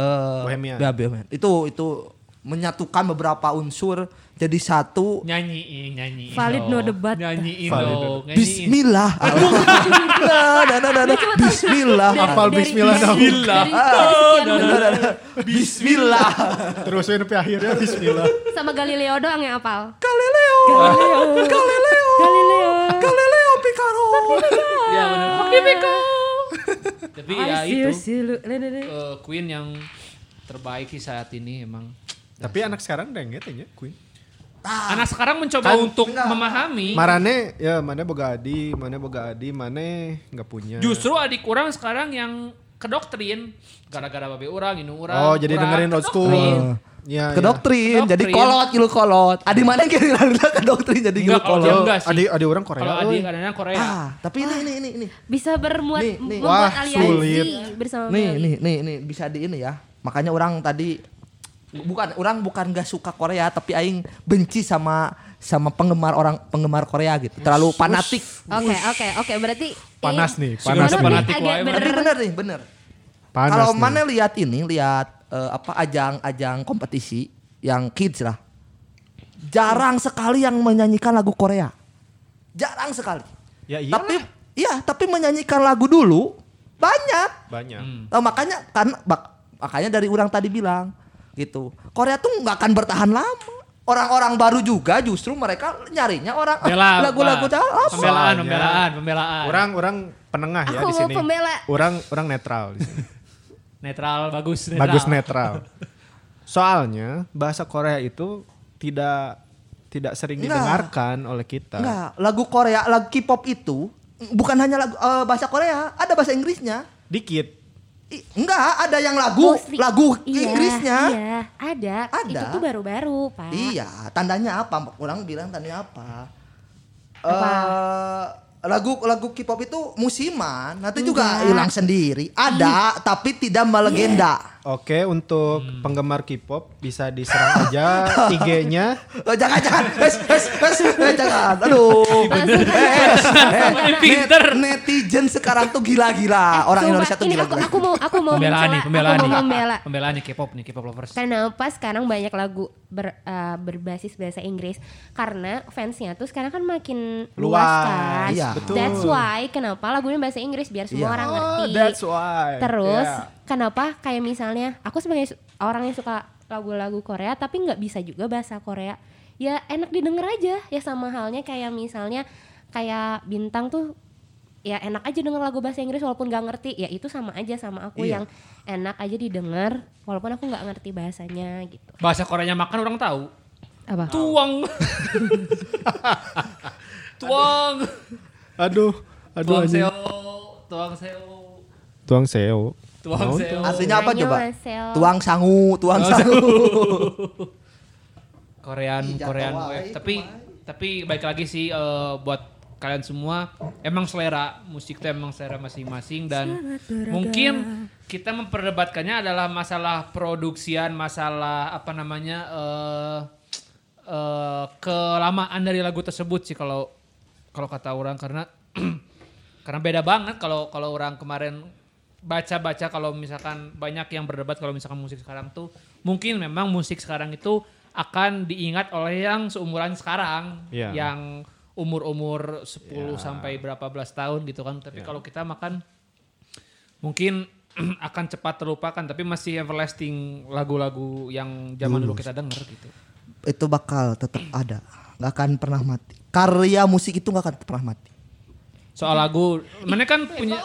S3: eh
S2: Bohemian.
S3: ya, Bohemian. Itu itu menyatukan beberapa unsur jadi satu.
S1: Nyanyiin, nyanyiin.
S4: Valid no
S1: dong.
S4: debat.
S1: Nyanyiin
S2: Valid no
S1: dong. Nyanyiin.
S3: Bismillah. Nah, nah, nah, nah, nah. Bismillah.
S4: Dari-
S2: Hafal
S4: dari-
S2: Bismillah
S4: dari-
S2: dong.
S3: Ah,
S1: Bismillah.
S4: dari- dari sekian menit.
S3: Bismillah.
S2: Terus ini sampai akhirnya bismillah.
S3: ah.
S4: Sama Galileo doang yang apal.
S3: Galileo. Galileo.
S4: Galileo.
S3: Galileo Picaro.
S1: Ya benar. Tapi ya
S4: I see you,
S1: itu
S4: see you. iya, Le, le, le.
S1: eh, Queen yang terbaik sih saat ini emang.
S2: Tapi anak sekarang denget ya Queen.
S4: Ah.
S1: Anak sekarang mencoba
S2: Kan-
S1: untuk memahami.
S2: Marane ya mana boga adi, mana boga adi, mana nggak punya.
S1: Justru adik kurang sekarang yang kedoktrin gara-gara babe orang, inu orang.
S2: Oh, jadi
S1: urang
S2: dengerin old school.
S1: kedoktrin.
S2: Ya,
S3: Ke doktrin, Eh, jadi
S1: Doktrin.
S3: kolot, gilu kolot. Adi mana kira-kira ke doktrin jadi gilu
S1: Enggak, kalau
S3: kolot.
S1: dia enggak sih.
S2: Adi adi orang Korea.
S1: Kalau kan- adik
S2: euy.
S1: kadang-kadang Korea.
S3: Ah, tapi ini ini ini ini.
S4: Bisa bermuat
S3: Nih, nih.
S4: membuat
S2: Wah,
S4: aliansi
S2: sulit.
S1: Oh, iya,
S4: bersama
S3: Nih
S4: Meli.
S3: nih nih nih bisa di ini ya. Makanya orang tadi bukan orang bukan gak suka Korea tapi aing benci sama sama penggemar orang penggemar Korea gitu. Terlalu fanatik.
S4: Oke, oke, oke. Berarti
S2: Panas nih,
S4: ini- Ini
S2: panas
S4: lebih
S2: nih.
S1: Fanatik
S4: agak
S1: wae,
S4: bener.
S3: Tapi bener nih, bener.
S2: Panas
S3: Kalau
S2: nih.
S3: mana lihat ini, lihat eh, apa ajang-ajang kompetisi yang kids lah. Jarang sekali yang menyanyikan lagu Korea. Jarang sekali.
S2: Ya iya.
S3: Tapi iya, tapi menyanyikan lagu dulu banyak.
S2: banyak.
S1: Hmm.
S3: Nah, makanya kan bak- makanya dari orang tadi bilang gitu. Korea tuh nggak akan bertahan lama. Orang-orang baru juga justru mereka nyarinya orang ah,
S1: Bela,
S3: lagu-lagu
S1: Pak.
S3: lama.
S1: Pembelaan,
S2: Soalnya-
S1: pembelaan, pembelaan.
S2: Orang-orang penengah ya
S4: Aku
S2: di
S4: mau
S2: sini.
S4: pembela.
S2: Orang orang netral di sini.
S1: netral bagus, netral.
S2: Bagus netral. Soalnya bahasa Korea itu tidak tidak sering
S3: Nggak.
S2: didengarkan oleh kita.
S3: Enggak, lagu Korea, lagu K-pop itu bukan hanya lagu eh, bahasa Korea, ada bahasa Inggrisnya.
S2: Dikit.
S3: I- enggak, ada yang lagu
S4: Mostly.
S3: lagu
S4: Iya,
S3: Inggrisnya.
S4: Iya, ada.
S3: Ada.
S4: Itu tuh baru-baru, Pak.
S3: Iya, tandanya apa? Orang bilang tandanya apa?
S4: Apa?
S3: Eh, lagu lagu K-pop itu musiman, nanti juga hilang sendiri. Ada,
S4: Iya.
S3: tapi tidak melegenda.
S2: Oke, untuk penggemar K-pop bisa diserang aja IG-nya.
S3: Eh, jangan jangan, es es es, eh, jangan. Aduh.
S4: Iya. Langsung
S3: Es, eh,
S1: Ini
S3: net-
S1: pinter.
S3: netizen sekarang tuh gila-gila. Orang
S4: Eh, Sumpah,
S3: Indonesia tuh
S4: ini aku,
S3: gila-gila.
S4: aku mau aku mau
S1: pembelaan
S4: mencela,
S1: nih, pembelaan
S4: aku
S1: nih.
S4: mau membela.
S1: Pembelaan nih K-pop nih, K-pop lovers.
S4: Kenapa sekarang banyak lagu ber- eh, berbasis bahasa Inggris? Karena fansnya tuh sekarang kan makin luas,
S2: Luas,
S4: kan.
S3: iya.
S2: betul.
S4: That's why kenapa lagunya bahasa Inggris biar semua
S3: Iya.
S4: orang
S2: Oh,
S4: ngerti.
S2: that's why. Iya.
S4: Terus
S2: Yeah.
S4: kenapa kayak misalnya aku sebagai su- orang yang suka lagu-lagu Korea tapi nggak bisa juga bahasa Korea. Ya enak didengar aja. Ya sama halnya kayak misalnya kayak bintang tuh ya enak aja denger lagu bahasa Inggris walaupun gak ngerti ya itu sama aja sama aku
S3: Iya.
S4: yang enak aja didengar walaupun aku nggak ngerti bahasanya gitu
S1: Bahasa Koreanya makan orang tahu.
S4: apa
S1: Tuang. Tuang.
S2: Aduh, aduh
S1: Tuang
S2: anjing.
S1: seo. Tuang seo.
S2: Tuang seo.
S1: Tuang
S2: Mau
S1: seo.
S3: Aslinya apa coba?
S4: Annyeonghaseyo.
S3: Tuang sangu, tuang sangu.
S1: Korean
S3: Ih, jatuh
S1: Korean
S3: wae,
S1: wave.
S3: itu
S1: Tapi tapi baik lagi sih eh, buat kalian semua emang selera musik itu emang selera masing-masing dan mungkin kita memperdebatkannya adalah masalah produksian, masalah apa namanya eh eh, kelamaan dari lagu tersebut sih kalau kalau kata orang karena karena beda banget kalau kalau orang kemarin baca-baca kalau misalkan banyak yang berdebat kalau misalkan musik sekarang tuh mungkin memang musik sekarang itu akan diingat oleh yang seumuran sekarang
S2: Iya.
S1: yang umur-umur 10 sampai berapa belas tahun gitu kan tapi kalau kita makan mungkin akan cepat terlupakan tapi masih everlasting lagu-lagu yang zaman dulu kita denger gitu.
S3: itu bakal tetap ada nggak akan pernah mati karya musik itu nggak akan pernah mati
S1: Soal lagu, mana kan punya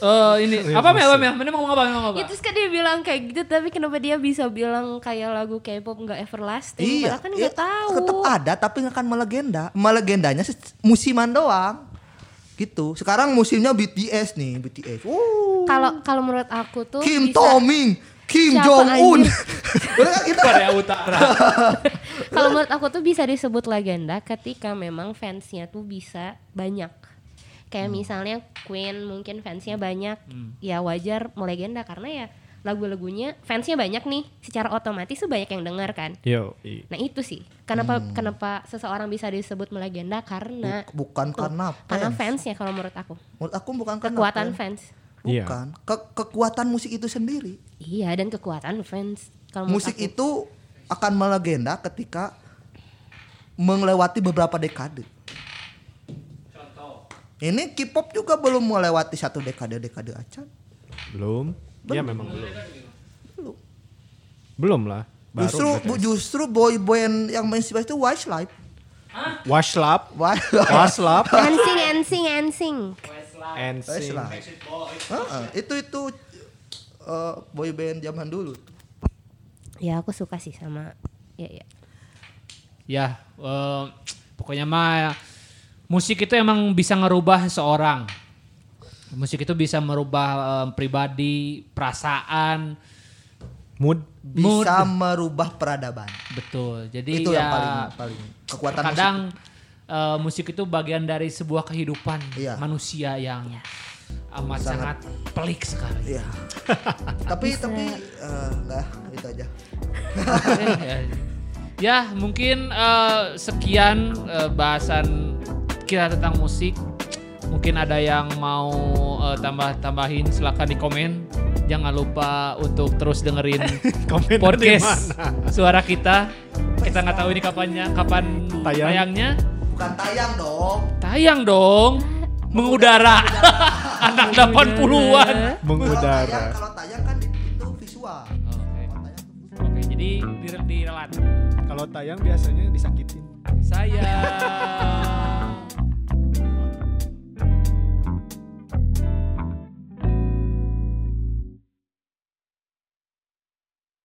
S1: eh ini apa Mel? Apa, Mel? Mana mau ngomong apa? Mau ngomong apa?
S4: Ya, terus kan dia bilang kayak gitu tapi kenapa dia bisa bilang kayak lagu K-pop nggak everlasting padahal kan
S3: iya,
S4: nggak tahu
S3: tetap ada tapi nggak akan melegenda melegendanya se- musiman doang gitu sekarang musimnya BTS nih BTS Wuh.
S4: kalau kalau menurut aku tuh
S3: Kim
S4: bisa-
S3: Toming Kim
S4: Siapa
S3: Jong Un
S4: anjing?
S3: kita
S1: Korea Utara.
S4: kalau menurut aku tuh bisa disebut legenda ketika memang fansnya tuh bisa banyak
S3: Hmm.
S4: kayak misalnya Queen mungkin fansnya banyak ya wajar melegenda karena ya lagu-lagunya fansnya banyak nih secara otomatis tuh banyak yang dengar kan
S2: Yo.
S4: nah itu sih kenapa
S3: Hmm.
S4: kenapa seseorang bisa disebut melegenda karena
S3: Buk- bukan karena
S4: karena
S3: fans.
S4: fansnya kalau menurut aku
S3: menurut aku bukan karena
S4: kekuatan
S3: fans.
S4: fans
S2: Iya.
S3: bukan Ke- kekuatan musik itu sendiri
S4: iya dan kekuatan fans kalau menurut
S3: musik
S4: aku.
S3: itu akan melegenda ketika melewati beberapa dekade. Contoh. Ini K-pop juga belum melewati satu dekade dekade acan.
S2: Belum. Iya memang belum. Belum lah. Baru
S3: Justru bu,
S2: BTS.
S3: justru boy band yang mainstream itu Westlife.
S2: Waslap.
S3: Westlife.
S2: Waslap.
S4: Ensing, ensing, ensing.
S2: And sing.
S3: Westlife. Heeh, itu itu eh, boy band zaman dulu.
S4: Ya aku suka sih sama ya ya.
S1: ya, eh, pokoknya mah musik itu emang bisa ngerubah seorang. Musik itu bisa merubah eh, pribadi, perasaan,
S2: Mood.
S1: mood.
S3: Bisa merubah peradaban.
S1: Betul. Jadi
S3: Itu
S1: ya
S3: yang paling paling kekuatan
S1: kadang
S3: musik.
S1: eh, musik itu bagian dari sebuah kehidupan
S3: Iya.
S1: manusia yang amat sangat, pelik sekali.
S3: Iya. tapi tapi eh, enggak itu aja.
S1: ya, ya, mungkin eh, sekian eh, bahasan kita tentang musik. Mungkin ada yang mau eh, tambah-tambahin silahkan di komen. Jangan lupa untuk terus dengerin
S2: Komen
S1: podcast suara kita. Kita nggak tahu ini kapannya, kapan
S2: Tayang.
S1: tayangnya.
S3: Bukan tayang dong.
S1: Tayang dong. Mengudara. Anak 80-an.
S3: Kalau tayang,
S2: Mengudara.
S3: kalau tayang kan itu visual.
S1: Oke.
S3: Kalau tayang tuh
S1: Oke, jadi di, direlat.
S2: Kalau tayang biasanya disakitin.
S1: Saya